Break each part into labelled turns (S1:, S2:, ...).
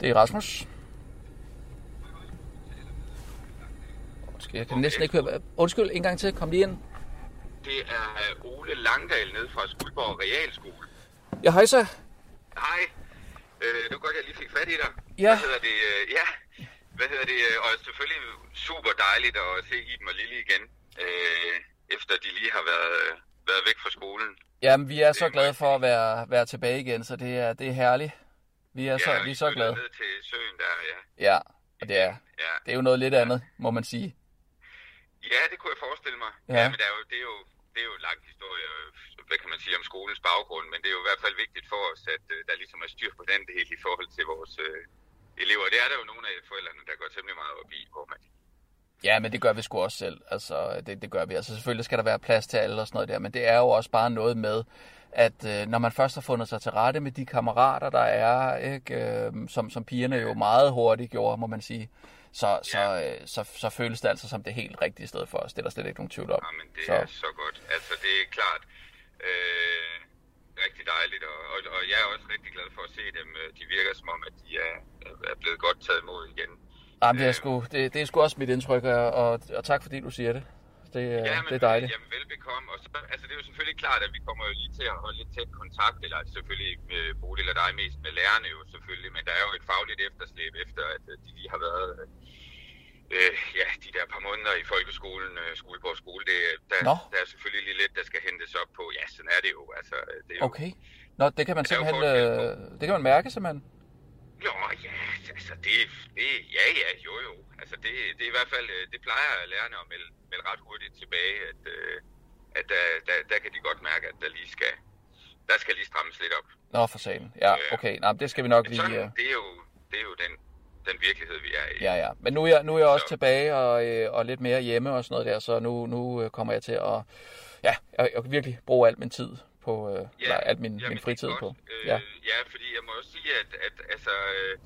S1: Det er Rasmus. Undskyld, jeg kan næsten ikke høre. hvad- Undskyld, en gang til. Kom lige ind.
S2: Det er øh, Ole Langdal nede fra Skuldborg Realskole.
S1: Ja, hej så.
S2: Hej. Øh, det var godt, jeg lige fik fat i dig.
S1: Ja.
S2: Hvad hedder det? øh, Ja. Hvad hedder det? øh, Og selvfølgelig super dejligt at se Iben og Lille igen, øh, efter de lige har været, øh, været væk fra skolen.
S1: Jamen, vi er så glade for at være, være tilbage igen, så det er, det er herligt. Vi er så,
S2: og
S1: vi er
S2: I
S1: så
S2: flyttede
S1: glade.
S2: Ned til søen der, ja.
S1: Ja, og det er,
S2: Ja,
S1: det er jo noget lidt andet, må man sige.
S2: ja det kunne jeg forestille mig.
S1: Ja.
S2: men der er jo, det, er jo, det er jo en lang historie, øh, hvad kan man sige, om skolens baggrund, men det er jo i hvert fald vigtigt for os, at øh, der ligesom er styr på den del i forhold til vores øh, elever. Det er der jo nogle af forældrene, der går temmelig meget op i, hvor man
S1: Ja, men det gør vi sgu også selv. Altså, det, det gør vi. Altså, selvfølgelig skal der være plads til alle og sådan noget der, men det er jo også bare noget med, at øh, når man først har fundet sig til rette med de kammerater, der er, ikke, øh, som, som pigerne jo meget hurtigt gjorde, må man sige, så, så, øh, så, så føles det altså som det helt rigtige sted for os. Det er der slet ikke nogen tvivl om.
S2: Jamen, det
S1: Så.
S2: så. er så godt. Altså, det er klart øh, rigtig dejligt, og, og, og jeg er også rigtig glad for at se dem. Øh, De virker som om, at de er, er blevet godt taget imod igen.
S1: Jamen, det, er sgu, det, det er sgu også mit indtryk, og, og, og tak fordi du siger det. Det, øh, det er dejligt.
S2: Jamen, velbekomme. Og så, altså, det er jo selvfølgelig klart, at vi kommer jo lige til at holde lidt tæt kontakt, eller selvfølgelig med Bodil og dig mest med lærerne jo selvfølgelig, men der er jo et fagligt efterslæb efter, at øh, de lige har været... øh, Øh, ja, de der par måneder i folkeskolen, øh, Skuldborg skole, det, der,
S1: Nå.
S2: der er selvfølgelig lige lidt, der skal hentes op på. Ja, sådan er det jo. Altså, øh, det er jo
S1: Okay. Nå, det kan man
S2: Der er jo
S1: simpelthen
S2: forskel på-
S1: øh, det kan man mærke, simpelthen.
S2: Nå ja, altså det, det ja ja, jo jo. Altså det, det er i hvert fald, øh, det plejer lærerne at melde, melde ret hurtigt tilbage, at, øh, at der, der, der, kan de godt mærke, at der lige skal, der skal lige strammes lidt op.
S1: Nå, for salen. Ja, okay. Nå, men det skal vi nok
S2: Men
S1: lige...
S2: sådan,
S1: Øh,
S2: det er jo, det er jo den, den virkelighed, vi er i.
S1: Ja, ja. Men nu er jeg, nu er jeg også
S2: Så-
S1: tilbage og, øh, og lidt mere hjemme og sådan noget der, så nu, nu øh, kommer jeg til at ja, jeg, jeg kan virkelig bruge al min tid på, øh, ja, eller alt min,
S2: jamen,
S1: min
S2: det er
S1: fritid
S2: godt.
S1: på.
S2: Øh,
S1: Ja.
S2: ja. ja, fordi jeg må også sige, at, at altså, øh,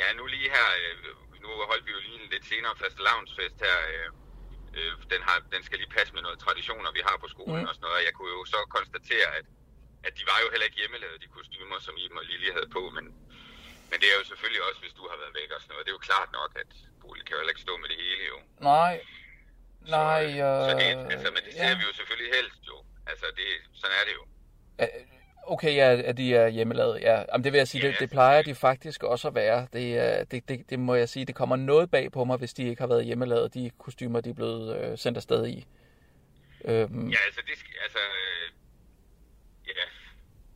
S2: ja, nu lige her, øh, nu holdt vi jo lige en lidt senere fast loungefest her, øh, øh, den, har, den skal lige passe med noget traditioner, vi har på skolen
S1: Mm.
S2: mm. og sådan noget, og jeg kunne jo så konstatere, at, at de var jo heller ikke hjemmelavet, de kostymer, som Iben og Lili havde på, men, men det er jo selvfølgelig også, hvis du har været væk og sådan noget, det er jo klart nok, at Bolig kan jo heller ikke stå med det hele jo.
S1: Nej. Nej,
S2: så, øh, så det, altså, men det
S1: øh,
S2: ser
S1: ja.
S2: vi jo selvfølgelig helst jo. Altså, det, sådan er det jo.
S1: Øh, Okay, ja, at de er hjemmelavet. Ja. Jamen, det vil jeg sige, det,
S2: Ja.
S1: det plejer de faktisk også at være. Det, er- det, det, det må jeg sige, det kommer noget bag på mig, hvis de ikke har været hjemmelavet, de kostymer, de er blevet øh, sendt afsted i. Øhm,
S2: Ja, altså det skal, altså, øh, ja,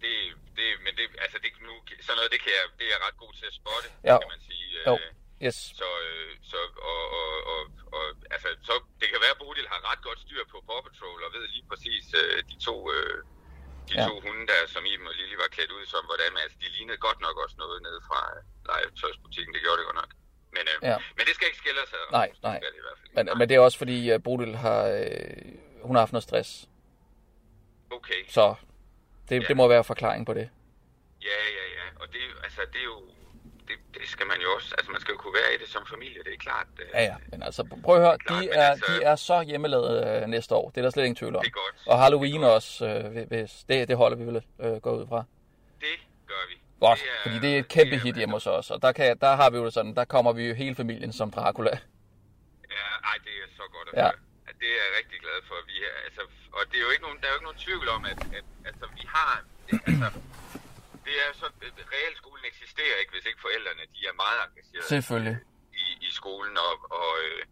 S2: det, det, men det, altså det, nu, sådan noget, det kan jeg, det er jeg ret god til at spotte,
S1: Ja.
S2: kan man sige. Øh,
S1: Jo, yes.
S2: Så, øh, så, og, og, og, og, altså, så, det kan være, at Bodil har ret godt styr på Paw Patrol, og ved lige præcis øh, de to, øh, de
S1: Ja.
S2: ja. to hunde der, som Iben og Lili var klædt ud som, hvordan, altså, de lignede godt nok også noget nede fra øh, legetøjsbutikken, det gjorde det godt nok. Men, øh,
S1: Ja.
S2: ja. men det skal ikke skille sig.
S1: Nej, nej.
S2: Det skal det i hvert fald ikke.
S1: Men, men det er også fordi, at Bodil har, øh, hun har haft noget stress.
S2: Okay.
S1: Så det, ja.
S2: Ja.
S1: det må være forklaring på det.
S2: Ja, ja, ja. Og det, er jo- altså, det er jo... Det, det skal man jo også... Altså, man skal jo kunne være i det som familie, det er klart. øh,
S1: Ja, ja. Men altså, prøv at høre,
S2: Klart,
S1: de
S2: men
S1: er,
S2: altså-
S1: de er så hjemmelavede øh, næste år. Det er der slet ingen tvivl om.
S2: Det er godt.
S1: Og
S2: Det
S1: Halloween
S2: er godt.
S1: også, øh, hvis, det, det holder vi vel øh, går ud fra.
S2: Det gør vi.
S1: Godt,
S2: er-
S1: fordi det er et kæmpe
S2: det er- altså-
S1: hit hjemme hos os, og der, kan, der har vi jo det sådan, der kommer vi jo hele familien som Dracula.
S2: Ja, ej, det er så godt at ja.
S1: Ja.
S2: høre. Ja, Det er jeg rigtig glad for. Vi er, altså, og det er jo ikke nogen, der er jo ikke nogen tvivl om, at, at altså, vi har... Det, altså, det er så... Realskolen eksisterer ikke, hvis ikke forældrene de er meget engagerede.
S1: Selvfølgelig.
S2: i, i skolen, og, og, øh,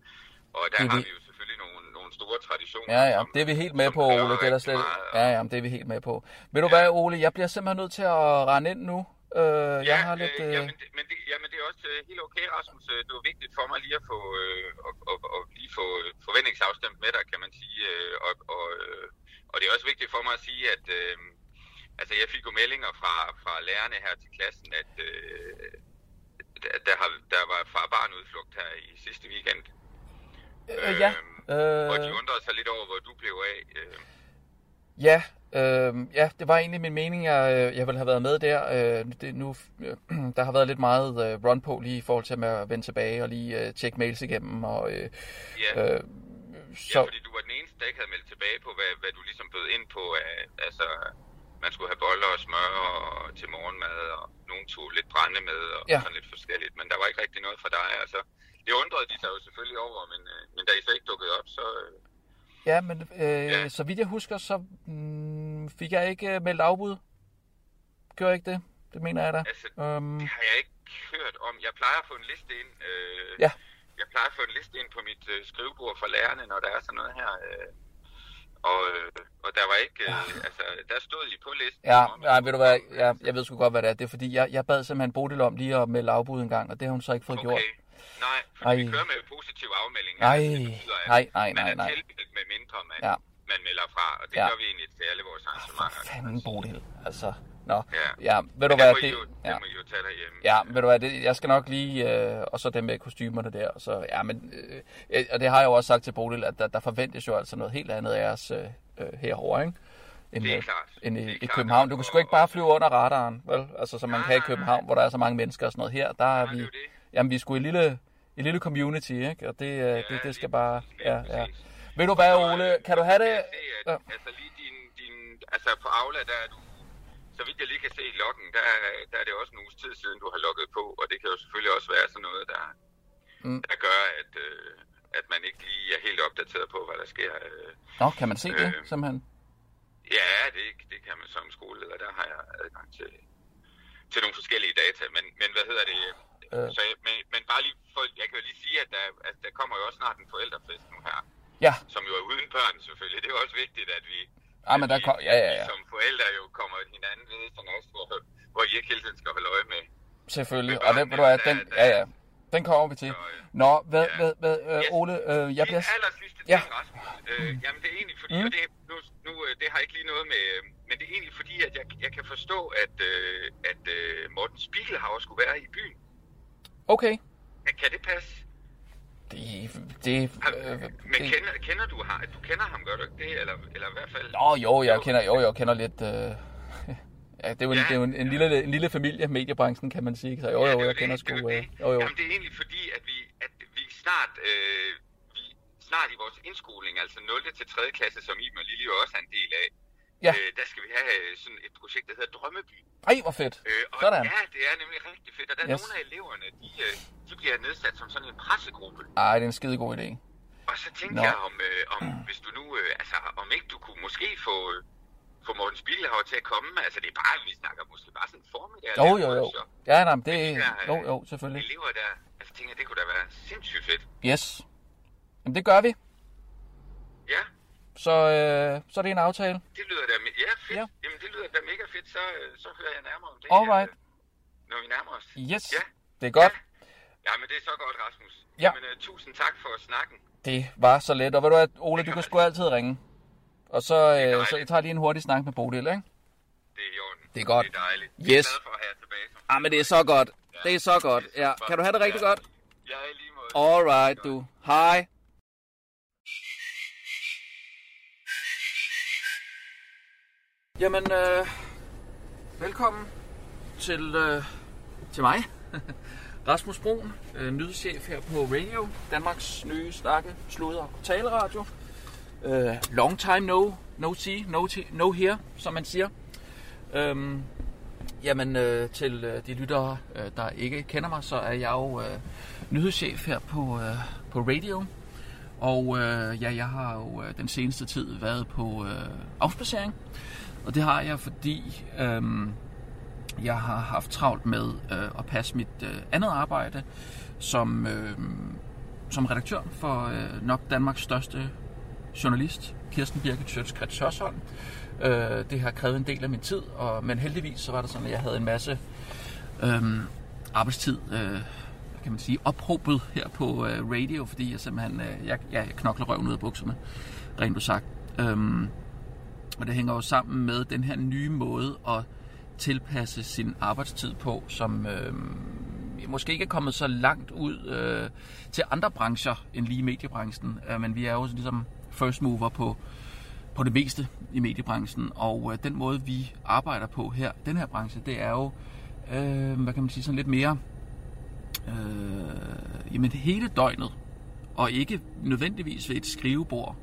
S2: og der
S1: Det er
S2: har
S1: vi-
S2: vi jo selvfølgelig nogle, nogle store traditioner.
S1: Ja, ja,
S2: som-
S1: det er vi helt med
S2: som
S1: på,
S2: kræver
S1: Ole. Det er der
S2: rigtig
S1: slet...
S2: meget, og-
S1: Ja, ja, men det er vi helt med på. Ved du hvad, Ole, jeg bliver simpelthen nødt til at rende ind nu. Øh, jeg har lidt...
S2: Øh,
S1: Øh...
S2: jamen, det, men det, jamen, det er også øh, helt okay, Rasmus. Øh, Det var vigtigt for mig lige at få, øh, og, og, og lige få øh, forventningsafstemt med dig, kan man sige. Øh, og, og, øh, og det er også vigtigt for mig at sige, at, øh, altså jeg fik jo meldinger fra, fra lærerne her til klassen, at øh, der, der, har, der var far barn udflugt her i sidste weekend.
S1: Øh, ja.
S2: Øh, og de
S1: Øh,
S2: undrede sig lidt over, hvor du blev af. Øh,
S1: ja, øh, ja, det var egentlig min mening, jeg, øh, jeg ville have været med der. Øh, det, nu, øh, der har været lidt meget øh, run på lige i forhold til med at vende tilbage og lige øh, tjekke mails igennem. Og, øh,
S2: ja, øh,
S1: øh,
S2: ja,
S1: så,
S2: fordi du var den eneste, der ikke havde meldt tilbage på, hvad, hvad du ligesom bød ind på. At, altså, man skulle have boller og smør og, til morgenmad, og nogen tog lidt brænde med, og
S1: Ja.
S2: ja. sådan lidt forskelligt. Men der var ikke rigtig noget for dig. Altså, det undrede de sig jo selvfølgelig over, men, øh, men da I så ikke dukkede op, så... Øh,
S1: ja, men øh,
S2: Ja.
S1: så vidt jeg husker, så mm, fik jeg ikke øh, meldt afbud. Gjorde jeg ikke det? Det mener jeg da.
S2: Altså,
S1: Øhm,
S2: Det har jeg ikke hørt om. Jeg plejer at få en liste ind. Øh,
S1: Ja.
S2: Jeg plejer at få en liste ind på mit øh, skrivebord for lærerne, når der er sådan noget her. Øh, og, øh, og der var ikke... Øh, altså, der stod I på listen.
S1: Ja,
S2: om, at-
S1: ja, ved du hvad, jeg, jeg ved sgu godt, hvad det er. Det er fordi, jeg, jeg bad simpelthen Bodil om lige at melde afbud en gang, og det har hun så ikke fået gjort.
S2: Okay. Nej, for
S1: Ej.
S2: vi kører med positiv afmelding. her.
S1: Nej,
S2: Det betyder, at
S1: nej, nej,
S2: Man
S1: nej,
S2: er
S1: nej.
S2: tilmeldt, med mindre man,
S1: Ja.
S2: ja. man melder fra. Og det
S1: Ja.
S2: ja. gør vi egentlig til alle vores arrangementer.
S1: Fanden Bodil, altså. Nå,
S2: Ja.
S1: ja, ved du
S2: Det
S1: hvad,
S2: må, I
S1: det,
S2: jo,
S1: ja,
S2: det må I jo tage derhjemme.
S1: ja, ved du hvad, det, jeg skal nok lige, øh, og så det med kostymerne der, og så, ja, men, øh, øh, og det har jeg jo også sagt til Bodil, at der, der forventes jo altså noget helt andet af os øh, øh, herovre, ikke? End,
S2: Det er
S1: øh,
S2: klart.
S1: end
S2: Det
S1: i,
S2: er
S1: i
S2: klart.
S1: København. Du kan sgu ikke bare flyve under radaren, vel? Altså, som man kan i
S2: Nej.
S1: København, hvor der er så mange mennesker og sådan noget. Her, der er
S2: det er
S1: vi,
S2: jo det.
S1: jamen, vi er sgu i lille, i lille community, ikke? Og det, ja, det,
S2: lige
S1: det skal bare,
S2: præcis, lige
S1: ja, ja.
S2: præcis.
S1: Ved du hvad,
S2: Og,
S1: Ole,
S2: øh,
S1: kan du
S2: så
S1: have
S2: kan
S1: det?
S2: jeg se, at,
S1: Ja.
S2: Altså lige din, din, altså på Aula, der er du, så vidt jeg lige kan se i loggen, der, er- der er det også en uges tid siden, du har logget på, og det kan jo selvfølgelig også være sådan noget, der,
S1: Mm.
S2: mm. der gør, at, øh, at man ikke lige er helt opdateret på, hvad der sker. øh.
S1: Nå, kan man se det,
S2: Øh.
S1: simpelthen?
S2: Ja, det, det kan man som skoleleder, der har jeg adgang til, til nogle forskellige data, men, men hvad hedder det?
S1: Øh.
S2: Øh. Så, jeg- men, men bare lige, for, jeg kan jo lige sige, at der, at der kommer jo også snart en forældrefest nu her.
S1: Ja,
S2: som jo er uden børn selvfølgelig. Det er jo også vigtigt, at vi,
S1: Ej, Ah, men
S2: at
S1: der
S2: vi,
S1: kom- ja, ja, ja.
S2: vi som ligesom, forældre jo kommer hinanden ved, sådan også, hvor, hvor I ikke hele tiden skal holde øje med.
S1: selvfølgelig.
S2: Men
S1: Og
S2: bare
S1: det, ved du hvad,
S2: den
S1: den,
S2: der- øh,
S1: ja, ja. Den kommer vi til. Nå, hvad,
S2: Ja.
S1: hvad, hvad, øh,
S2: Yes.
S1: Ole, øh, jeg
S2: Min
S1: bliver...
S2: aller sidste ting,
S1: Ja.
S2: ja. Rasmus, øh, jamen det er egentlig fordi,
S1: Mm.
S2: mm. og det, nu, nu, øh, det har ikke lige noget med, øh, men det er egentlig fordi, at jeg, jeg kan forstå, at, øh, at øh, Morten Spiegelhauer skulle være i byen.
S1: Okay.
S2: Kan- Kan det passe?
S1: Det, det,
S2: Har,
S1: øh,
S2: men
S1: det,
S2: kender, kender du ham? Du kender ham, gør du ikke det? Eller, eller i hvert fald...
S1: Nå, jo, jeg kender, jo, jeg kender lidt... Øh, ja, det er jo, en,
S2: Ja.
S1: det er jo en, en, lille, en lille familie, mediebranchen, kan man sige. Så jo,
S2: Ja, det
S1: jo,
S2: er
S1: jeg
S2: det,
S1: kender
S2: det er
S1: sgu... Øh,
S2: det.
S1: jo, jo.
S2: Jamen, det er egentlig fordi, at vi, at vi snart... Øh, vi snart i vores indskoling, altså 0. til 3. klasse, som Iben og Lili jo også er en del af,
S1: Ja.
S2: øh, der skal vi have øh, sådan et projekt, der hedder Drømmeby.
S1: Ej, hvor fedt.
S2: Øh, og
S1: Sådan.
S2: ja, det er nemlig rigtig fedt, og der er
S1: Yes.
S2: yes. nogle af eleverne, de, øh, de bliver nedsat som sådan en pressegruppe.
S1: Ej, det er en skide god idé.
S2: Og så tænkte
S1: Nå.
S2: Nå. jeg, om, øh, om hvis du nu, øh, altså, om ikke du kunne måske få, øh, få Morten Spiegelhauer til at komme. Altså, det er bare, vi snakker måske bare sådan en formiddag. og
S1: Jo,
S2: lidt
S1: jo, jo.
S2: workshop.
S1: Ja, nej, men
S2: Men
S1: det...
S2: de der, øh,
S1: Jo, jo, selvfølgelig.
S2: Elever der, altså, tænker jeg, det kunne da være sindssygt fedt.
S1: Yes. Jamen, det gør vi.
S2: Ja,
S1: Så, øh, så er det en aftale.
S2: det lyder da, me- ja, fedt.
S1: Ja.
S2: Ja. Jamen, det lyder da mega fedt, så, øh, så hører jeg nærmere om det.
S1: Alright.
S2: øh, Når vi nærmer os.
S1: Yes.
S2: Ja.
S1: Det er godt.
S2: Ja, men det er så godt, Rasmus.
S1: Ja.
S2: Men uh, tusind tak for snakken.
S1: Det var så let. Og ved du hvad, Ole, du kan sgu altid ringe. Og så, øh,
S2: dejligt.
S1: så jeg tager lige en hurtig snak med Bodil, ikke?
S2: Det er i orden.
S1: Det er godt.
S2: Det er dejligt. Jeg
S1: Yes.
S2: er glad for at have jer tilbage. som
S1: Ah, men det er så godt. Det er så godt.
S2: sagt.
S1: Ja, kan du have det rigtig
S2: Ja.
S1: godt?
S2: Ja, i lige måde.
S1: Alright, du. Hej. Jamen, øh, velkommen til, øh, til mig, Rasmus Brun, øh, nyhedschef her på Radio, Danmarks nye snakke, sludder og taleradio. Øh, long time no, no see, no, t- no here, som man siger. Øhm, Jamen øh, til øh, de lyttere, øh, der ikke kender mig, så er jeg jo øh, nyhedschef her på, øh, på radio. Og øh, ja, jeg har jo øh, den seneste tid været på øh, afspacering. Og det har jeg, fordi øh, jeg har haft travlt med øh, at passe mit øh, andet arbejde som, øh, som redaktør for øh, nok Danmarks største journalist, Kirsten Birgit Sjøtskrets Hørsholm. Øh, det har krævet en del af min tid, og, men heldigvis så var det sådan, at jeg havde en masse øh, arbejdstid, øh, hvad kan man sige, ophobet her på øh, radio, fordi jeg simpelthen, øh, jeg, jeg, jeg knokler røven ud af bukserne, rent ud sagt. Øh, Og det hænger jo sammen med den her nye måde at tilpasse sin arbejdstid på, som øh, måske ikke er kommet så langt ud øh, til andre brancher end lige mediebranchen. Øh, men vi er jo ligesom first mover på, på det meste i mediebranchen. Og øh, den måde, vi arbejder på her, den her branche, det er jo, øh, hvad kan man sige, sådan lidt mere, øh, jamen hele døgnet. Og ikke nødvendigvis ved et skrivebord.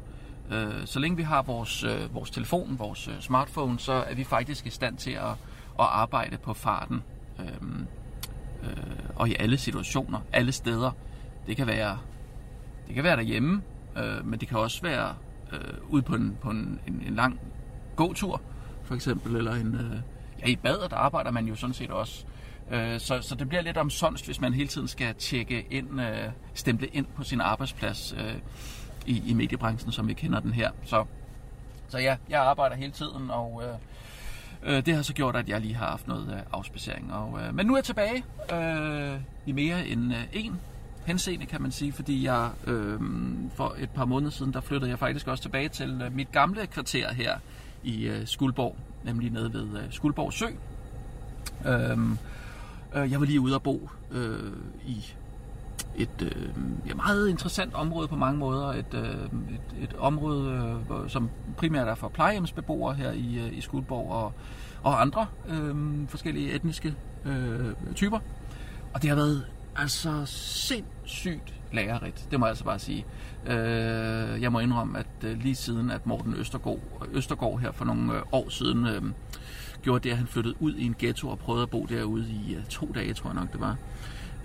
S1: Øh, så længe vi har vores, øh, vores telefon, vores øh, smartphone, så er vi faktisk i stand til at, at arbejde på farten. Øh, øh, og i alle situationer, alle steder. Det kan være, det kan være derhjemme, øh, men det kan også være øh, ude på, en, på en, en, en lang gåtur, for eksempel, eller en, øh, ja, i badet arbejder man jo sådan set også. Øh, så, så det bliver lidt omsonst, hvis man hele tiden skal tjekke ind, øh, stemple ind på sin arbejdsplads øh, i, i mediebranchen, som vi kender den her. Så, så ja, jeg arbejder hele tiden, og øh, øh, det har så gjort, at jeg lige har haft noget øh, afspacering. Og, øh, men nu er jeg tilbage øh, i mere end øh, en henseende, kan man sige, fordi jeg øh, for et par måneder siden, der flyttede jeg faktisk også tilbage til øh, mit gamle kvarter her i øh, Skuldborg, nemlig nede ved øh, Skuldborg Sø. Øh, øh, jeg var lige ude at bo øh, i et øh, ja, meget interessant område på mange måder. Et, øh, et, et område, øh, hvor- som primært er for plejehjemsbeboere her i, øh, i Skuldborg og, og andre øh, forskellige etniske øh, typer. Og det har været altså sindssygt lærerigt, det må jeg altså bare sige. Øh, jeg må indrømme, at øh, lige siden at Morten Østergaard, Østergaard her for nogle øh, år siden øh, gjorde det, at han flyttede ud i en ghetto og prøvede at bo derude i øh, to dage, tror jeg nok det var,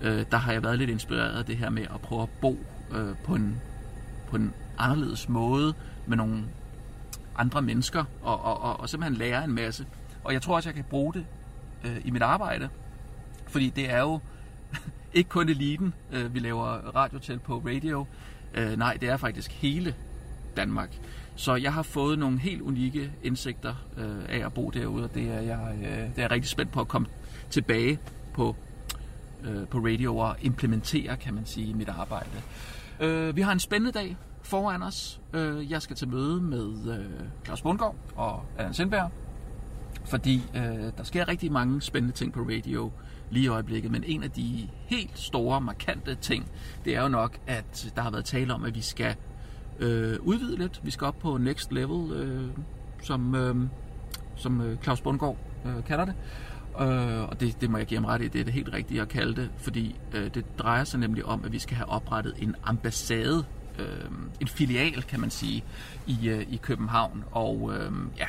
S1: øh, der har jeg været lidt inspireret af det her med at prøve at bo øh, på, en, på en anderledes måde med nogle andre mennesker og, og, og, og simpelthen lære en masse. Og jeg tror også, jeg kan bruge det øh, i mit arbejde, fordi det er jo ikke kun eliten, øh, vi laver radio til på radio. Øh, nej, det er faktisk hele Danmark. Så jeg har fået nogle helt unikke indsigter øh, af at bo derude, og det er jeg øh, det er jeg rigtig spændt på at komme tilbage på, øh, på radio og implementere, kan man sige, i mit arbejde. Øh, vi har en spændende dag foran os. Øh, jeg skal til møde med øh, Claus Bundgaard og Allan Sindberg fordi øh, der sker rigtig mange spændende ting på radio lige i øjeblikket, men en af de helt store, markante ting, det er jo nok, at der har været tale om, at vi skal øh, udvide lidt. Vi skal op på next level, øh, som, øh, som øh, Claus Bundgaard øh, kalder det. Øh, og det, det må jeg give ham ret i, det er det helt rigtige at kalde det, fordi øh, det drejer sig nemlig om, at vi skal have oprettet en ambassade, øh, en filial, kan man sige, i, øh, i København. Og øh, ja,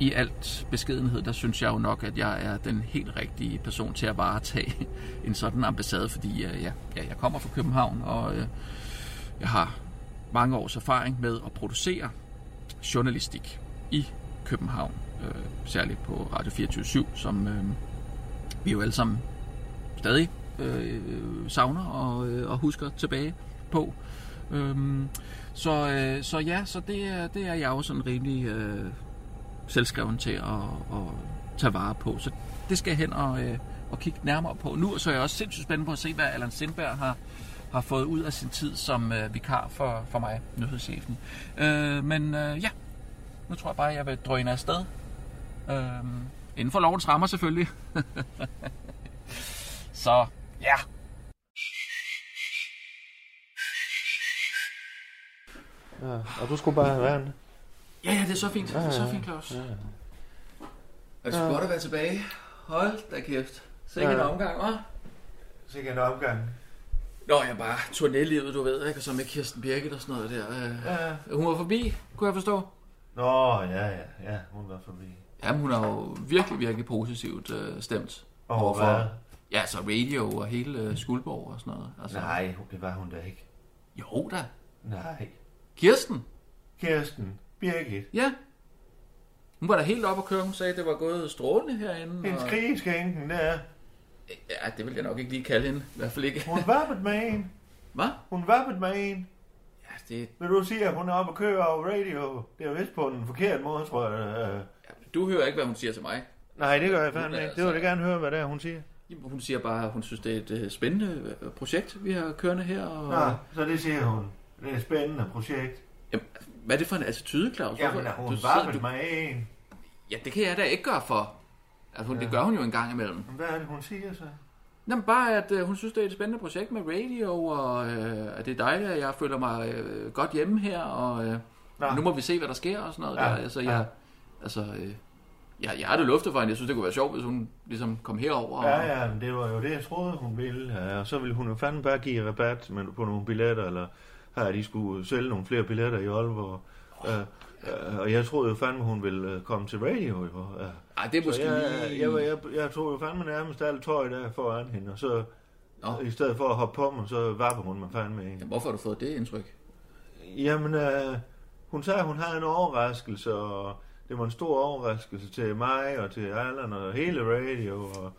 S1: i alt beskedenhed, der synes jeg jo nok, at jeg er den helt rigtige person til at varetage en sådan ambassade, fordi øh, ja, ja, jeg kommer fra København, og øh, jeg har mange års erfaring med at producere journalistik i København, øh, særligt på Radio 24 som øh, vi jo alle sammen stadig øh, savner og, øh, og husker tilbage på. Øhm, så, øh, så ja, så det, er- det er jeg jo sådan rimelig... Øh, selvskreven til at, at tage vare på. Så det skal jeg hen og, øh, og kigge nærmere på nu, og så er jeg også sindssygt spændt på at se, hvad Allan Sindberg har, har fået ud af sin tid som øh, vikar for, for mig, nyhedschefen. Øh, men øh, ja, nu tror jeg bare, at jeg vil drøne afsted. Øh, inden for lovens rammer selvfølgelig. så ja.
S3: Ja, og du skulle bare have været
S1: Ja, ja, det er så fint. Det er
S3: Ja,
S1: så
S3: ja,
S1: fint, Claus. Ja, ja. Er det godt at være tilbage? Hold da kæft. Så
S3: ikke en
S1: omgang, hva'?
S3: Sikke en omgang.
S1: Nå, jeg bare turnélivet, du ved, ikke? Og så med Kirsten Birgit og sådan noget der. Øh,
S3: Ja.
S1: Hun var forbi, kunne jeg forstå.
S3: Nå, ja, ja, ja, hun var forbi.
S1: Jamen, hun er jo virkelig, virkelig positivt øh, stemt.
S3: Og
S1: overfor-
S3: hvad?
S1: Ja, så radio og hele øh, Skuldborg og sådan noget. Altså,
S3: Nej, hun- det var hun da ikke.
S1: Jo da.
S3: Nej.
S1: Kirsten?
S3: Kirsten, Birgit,
S1: Ja. Hun var da helt op og køre. Hun sagde, at det var gået strålende herinde.
S3: en
S1: og...
S3: skrigeskænken der.
S1: Ja, det vil jeg nok ikke lige kalde hende. I hvert fald ikke.
S3: Hun vappet med en.
S1: Hvad?
S3: Hun vappet med en.
S1: Ja, det...
S3: Vil du sige, at hun er oppe og køre over radio? Det er jo vist på den forkerte måde, tror jeg. øh.
S1: Du hører ikke, hvad hun siger til mig.
S3: Nej, det gør jeg
S1: Hun er
S3: fandme ikke. Det
S1: altså-
S3: vil jeg gerne høre, hvad det er, hun siger.
S1: Jamen, Hun siger bare, at hun synes, det er et øh, spændende øh, projekt, vi har kørende her. Og...
S3: Nå, så det siger hun. Det er et spændende projekt.
S1: Jamen, Hvad er det for en attitude, Claus?
S3: Jamen,
S1: Hvorfor-
S3: hun
S1: sidder-
S3: vappede mig en.
S1: Ja, det kan jeg da ikke gøre for. Altså, hun, ja. det gør hun jo en gang imellem.
S3: Hvad er det, hun siger så?
S1: Jamen bare, at øh, hun synes, det er et spændende projekt med radio, og øh, at det er dejligt, at jeg føler mig øh, godt hjemme her, og øh,
S3: Nå.
S1: nu må vi se, hvad der sker og sådan noget.
S3: Ja,
S1: Ja, der. Altså, jeg, altså, øh, jeg, jeg er det luftet for hende. Jeg synes, det kunne være sjovt, hvis hun ligesom kom herover. og-
S3: Ja, ja, men det var jo det, jeg troede, hun ville. Ja, og så ville hun jo fandme bare give rabat men på nogle billetter, eller her, de skulle sælge nogle flere billetter i Aalborg. Ja, ja, og jeg troede jo fandme, hun ville øh, komme til radio. Jo. Ja.
S1: Ej, det er
S3: Så
S1: måske
S3: jeg,
S1: lige...
S3: jeg, jeg, jeg, jeg tog jo fandme nærmest alt tøj der foran hende, og så
S1: Nå.
S3: i stedet for at hoppe på mig, så vapper hun mig fandme en.
S1: Jamen, hvorfor har du fået det indtryk?
S3: Jamen, øh, hun sagde, at hun havde en overraskelse, og det var en stor overraskelse til mig og til Allan og hele radio. Og,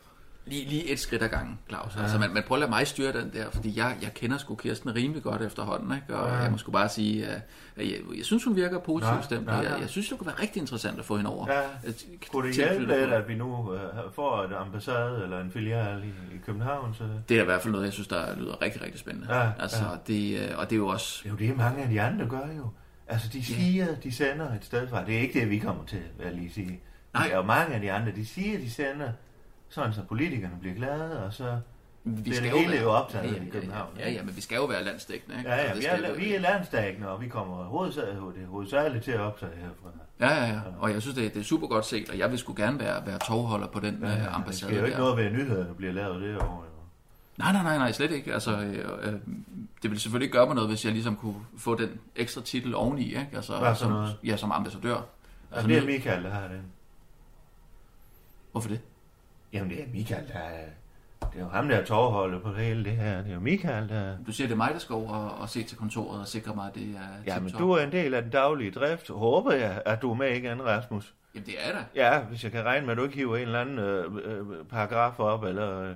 S1: Lige, lige et skridt ad gangen, Claus. Ja. Altså, man, man prøver at lade mig styre den der, fordi jeg, jeg kender sgu Kirsten rimelig godt efterhånden, ikke? og ja. jeg må sgu bare sige, at jeg, jeg synes, hun virker
S3: Nej,
S1: positivt stemt.
S3: nej,
S1: Jeg,
S3: nej.
S1: jeg synes, det kunne være rigtig interessant at få hende over.
S3: Ja.
S1: Øh,
S3: kunne det
S1: til-
S3: hjælpe
S1: tilknyttet-
S3: lidt, at vi nu øh, får et ambassade eller en filial i, i København? Så...
S1: Det er i hvert fald noget, jeg synes, der lyder rigtig, rigtig spændende.
S3: Ja,
S1: altså, Det, øh, og det er jo også...
S3: Det er jo det, mange af de andre gør jo. Altså, de siger, de sender et sted fra. Det er ikke det, vi kommer til, vil jeg lige sige.
S1: Nej.
S3: Og mange af de andre, de siger, de sender, sådan så politikerne bliver glade, og så...
S1: Vi
S3: det
S1: jo
S3: hele
S1: være-
S3: er jo optaget
S1: ja,
S3: i København,
S1: Ja, ja, ja, men vi skal jo være landsdækkende. Ikke?
S3: Ja, ja,
S1: Og det
S3: vi
S1: skal
S3: er,
S1: jo-
S3: vi er landstækkende, og vi kommer hovedsageligt, det er hovedsageligt til at optage herfra.
S1: Ja, ja, ja. Og jeg synes, det, det er super godt set, og jeg vil sgu gerne være, være tovholder på den ja, øh,
S3: Det
S1: ambassade
S3: er jo ikke
S1: der.
S3: noget ved, at nyhederne bliver lavet derovre. jo.
S1: Nej, nej, nej, nej, slet ikke. Altså, øh, øh, det ville selvfølgelig ikke gøre mig noget, hvis jeg ligesom kunne få den ekstra titel oveni, ikke? Altså,
S3: Hvad for
S1: som,
S3: noget?
S1: Ja, som ambassadør.
S3: Altså, det er
S1: nu-
S3: Michael, der har den.
S1: Hvorfor det?
S3: Jamen, det er Michael, der er... Det er jo ham, der er tovholdet på det hele det her. Det er jo Michael, der...
S1: Du siger, det er mig, der skal over og, og se til kontoret og sikre mig, at det er
S3: Jamen,
S1: tip-top.
S3: du er en del af den daglige drift. Håber jeg, at du er med igen, Rasmus.
S1: Jamen, det er der.
S3: Ja, hvis jeg kan regne med, at du ikke hiver en eller anden øh, øh, paragraf op, eller øh,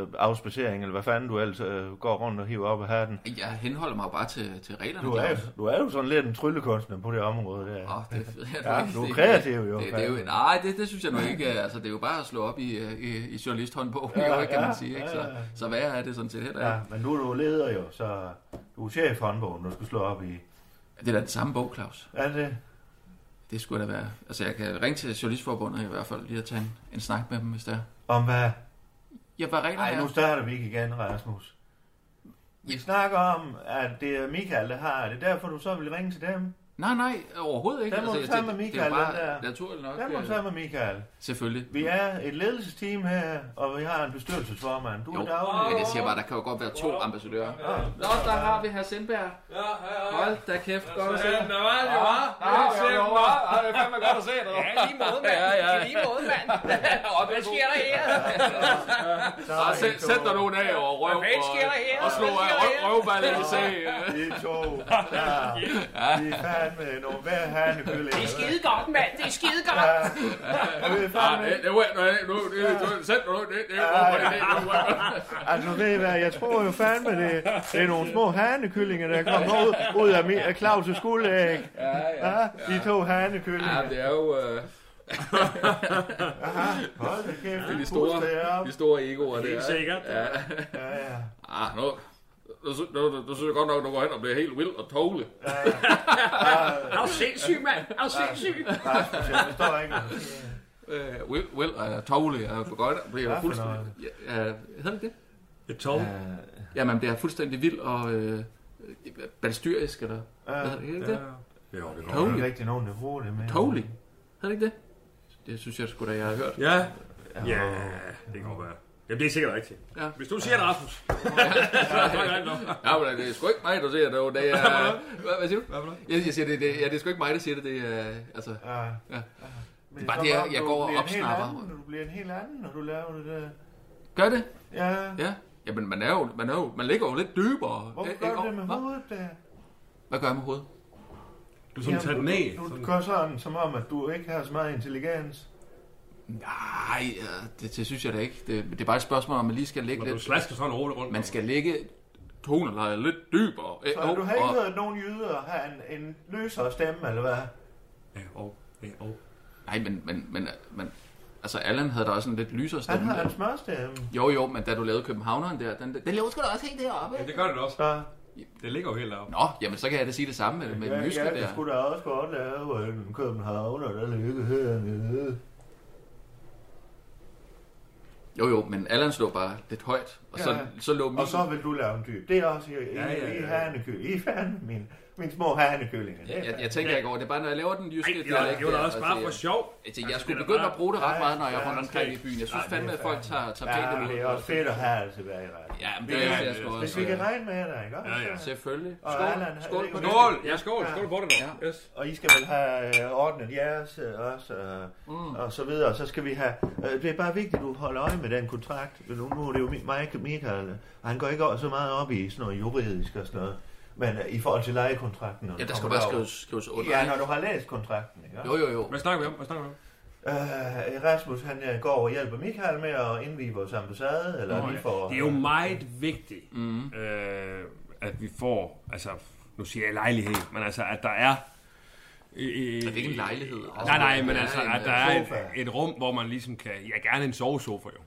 S3: øh, afspacering, eller hvad fanden du ellers øh, går rundt og hiver op af hatten.
S1: Jeg henholder mig jo bare til, til reglerne.
S3: Du er,
S1: Claus.
S3: jo- du er jo sådan lidt en tryllekunstner på det område der.
S1: Åh, oh, det er fedt. Jeg
S3: Ja,
S1: tror ikke,
S3: du er
S1: det-
S3: kreativ jo,
S1: Det, det, er jo
S3: fandme.
S1: nej, det, det synes jeg nu ikke. Altså, det er jo bare at slå op i, øh, i, i journalisthåndbogen, ja, kan
S3: ja,
S1: man sige. Ikke?
S3: ja,
S1: Så,
S3: ja.
S1: så hvad er det sådan set heller ikke?
S3: Ja, men nu er du leder jo, så du er chef i håndbogen, du skal slå op i.
S1: Det er da den samme bog, Claus.
S3: Er det?
S1: Det skulle da være. Altså, jeg kan ringe til Journalistforbundet i hvert fald lige at tage en, en snak med dem, hvis der. er.
S3: Om hvad?
S1: Ja, hvad reglerne
S3: Nej,
S1: er.
S3: nu starter vi ikke igen, Rasmus. Vi snakker om, at det er Michael, der har det. Derfor du så vil ringe til dem.
S1: Nej, nej, overhovedet ikke. Altså,
S3: Den må du tage med
S1: det, det er
S3: Michael,
S1: jo bare
S3: den der.
S1: naturligt nok.
S3: Den må
S1: øh,
S3: du tage med Michael.
S1: Selvfølgelig.
S3: Vi er et ledelsesteam her, og vi har en bestyrelsesformand. Du
S1: Jo,
S3: er daglig.
S1: men jeg siger bare, der kan jo godt være to ambassadører. Nå, der har vi herr Sindberg.
S4: Ja, ja, ja.
S1: Hold da kæft, godt at se.
S4: Ja, der var det, var.
S1: Ja,
S4: Ja,
S1: ja,
S4: ja,
S1: ja.
S4: var. Ja, det er fandme godt at se dig.
S5: Ja, lige måde, mand.
S4: Ja, ja.
S5: Lige måde, mand. Hvad sker der her?
S4: Ja, sæt, sæt dig nogen af og røv
S5: Hvad sker der her?
S4: og, og slå af
S5: Hvad sker
S4: røv,
S5: der her?
S4: røvballet i se.
S3: Vi er to. Ja. Ah, Vi er fandme nogle hver herne kyllinger.
S5: Det er skide godt, mand. Det er skide godt.
S3: Vi er
S4: Ja,
S3: fandme...
S4: det- det var nu, nu, det- det- sæt dig nu, det, det er
S3: Ja,
S4: hvorfor det
S3: ja.
S4: er det, nu er-
S3: Altså ved I hvad, jeg tror jo fandme, det, det er nogle små hanekyllinger, der kommer ud, ud af, mi- af Claus' skuldæg.
S1: Ja, ja.
S3: Ja, de to hanekyllinger.
S1: Ja, det er jo øh,
S3: Hold da kæft,
S1: de
S3: de
S1: store,
S3: store.
S1: de store egoer, det
S4: Helt
S1: er.
S4: sikkert.
S3: Ja, ja.
S1: Ah, nu,
S4: Nu, sy- nu, nu, nu synes jeg godt nok, at du går hen og bliver helt vild og tåle.
S5: Er du sindssyg, mand? Er du sindssyg?
S3: Rasmus, jeg forstår ikke.
S1: øh, Will, Will er tovlig, og går godt og
S3: Hvad
S1: bliver
S3: for
S1: fuldstændig... Ja, ja, hedder det det?
S6: Et tog.
S3: Øh,
S1: Jamen, bliver fuldstændig vild og øh, balstyrisk, eller hvad hedder
S3: øh,
S1: det? Hedder det? det?
S6: Jo, det
S3: Der
S6: går.
S3: er ikke rigtig nogen, der bruger det med.
S1: Tovlig? Hedder det ikke det? Det synes jeg sgu da, jeg har hørt.
S6: Ja. Ja, det kan godt være. Jamen, det er sikkert rigtigt.
S1: Ja.
S6: Hvis du siger det, Rasmus.
S1: Ja, men det er sgu ikke mig, der siger det. Det er... Hvad, hvad siger du? Jeg, jeg siger, det, det, ja, det er sgu ikke mig, der siger det. Det er... Altså,
S3: Ja.
S1: Ja.
S3: Men
S1: Bare
S3: så
S1: det,
S3: godt,
S1: jeg
S3: du
S1: går og
S3: bliver en helt
S1: opsnapper.
S3: anden, Du bliver en helt anden, når du laver det der.
S1: gør det?
S3: Ja.
S1: Ja. Jamen, man er jo... Man, er jo, man ligger jo lidt dybere.
S3: Hvorfor
S1: Ikke-
S3: gør du
S1: ikke-
S3: det med
S1: Øh, Hva?
S3: hovedet der?
S1: Hvad gør jeg med hovedet?
S6: Du sådan tager den ned.
S3: Du, du
S6: Sådan.
S3: gør sådan, som om, at du ikke har så meget intelligens.
S1: Nej, øh, det, det synes jeg da ikke. Det, det er bare et spørgsmål, om man lige skal ligge
S6: Når du
S1: lidt...
S6: slasker sådan roligt rundt.
S1: Man skal ligge tonelejet lidt dybere. Æ,
S3: Så du har ikke hørt nogen jyder have en, en løsere stemme, eller hvad?
S6: Ja, Øh, og. Ja, og.
S1: Nej, men, men, men, men... Altså, Allan havde da også en lidt lysere
S3: Han
S1: stemme.
S3: har en
S1: der.
S3: smørstemme.
S1: Jo, jo, men da du lavede Københavneren der, den, den, den lavede sgu da også helt deroppe.
S6: Ja, det gør det også.
S3: Så
S7: Det ligger jo helt op.
S1: Nå, jamen så kan jeg da sige det samme med, med den
S3: Ja,
S1: jyske
S3: jeg kan
S1: der.
S3: sgu da også godt lave en københavner, der ligger hernede.
S1: Jo jo, men Allan slog bare lidt højt, og så,
S3: Ja.
S1: så lå min...
S3: Og så vil du lave en dyb. Det er også i, ja,
S7: ja,
S3: ja,
S7: ja.
S3: i hanekøl. I fanden, min, min små hanekøllinger. Det er
S1: Jeg,
S3: fandme-
S1: jeg tænker ikke over det, bare når jeg laver den jyske
S6: Ej, det var, det var da også bare for
S1: altså,
S6: sjov.
S1: jeg, jeg, jeg
S6: Altså,
S1: skulle
S6: det er da
S1: begynde
S6: bare-
S1: at bruge det ret meget, når jeg er
S3: Ja,
S1: rundt omkring i
S6: omkring.
S1: byen. Jeg synes
S6: Ja,
S1: fandme, at folk tager, tager pænt
S3: Ja,
S1: imod.
S3: men det er også fedt at have det tilbage i retten.
S1: Ja, men
S3: Vi
S1: det er
S3: kan-
S1: jeg sgu
S3: Hvis vi kan
S1: også.
S3: regne med dig, ikke? også?
S6: Ja, ja.
S1: Selvfølgelig.
S3: Og Allan,
S1: Skål, skål
S3: det er
S1: på
S3: jo
S1: det.
S3: vigtigt.
S6: Skål! Ja, skål. Skål på det nu.
S1: Ja.
S6: Yes.
S3: Og I skal vel have øh, ordnet jeres øh, også, øh, mm. og så videre. Og så skal vi have... Øh, det er bare vigtigt, at du holder øje med den kontrakt. Nu, nu er det jo mi- Mike Michael, øh, han går ikke så meget op i sådan noget juridisk og sådan noget. Men øh, i forhold til lejekontrakten... når
S1: Ja,
S3: du
S1: der skal
S3: kommer
S1: bare
S3: derover.
S1: skrives, skrives under.
S3: Ja, når du har læst kontrakten, ikke?
S1: Jo, jo, jo.
S6: Hvad snakker vi om? Hvad snakker vi om?
S3: Øh, Rasmus, han øh, går og hjælper Michael med at indvige vores ambassade, eller Nå, vi får...
S6: Det er jo meget vigtigt, mm. øh, at vi får, altså, nu siger jeg lejlighed, men altså, at der er... Øh,
S1: Men hvilken lejlighed? Altså,
S6: Nej, nej, men
S1: ja,
S6: altså,
S1: en,
S6: at der
S1: øh,
S6: er
S3: sofa.
S6: et, et rum, hvor man ligesom kan... Ja, gerne en sovesofa jo.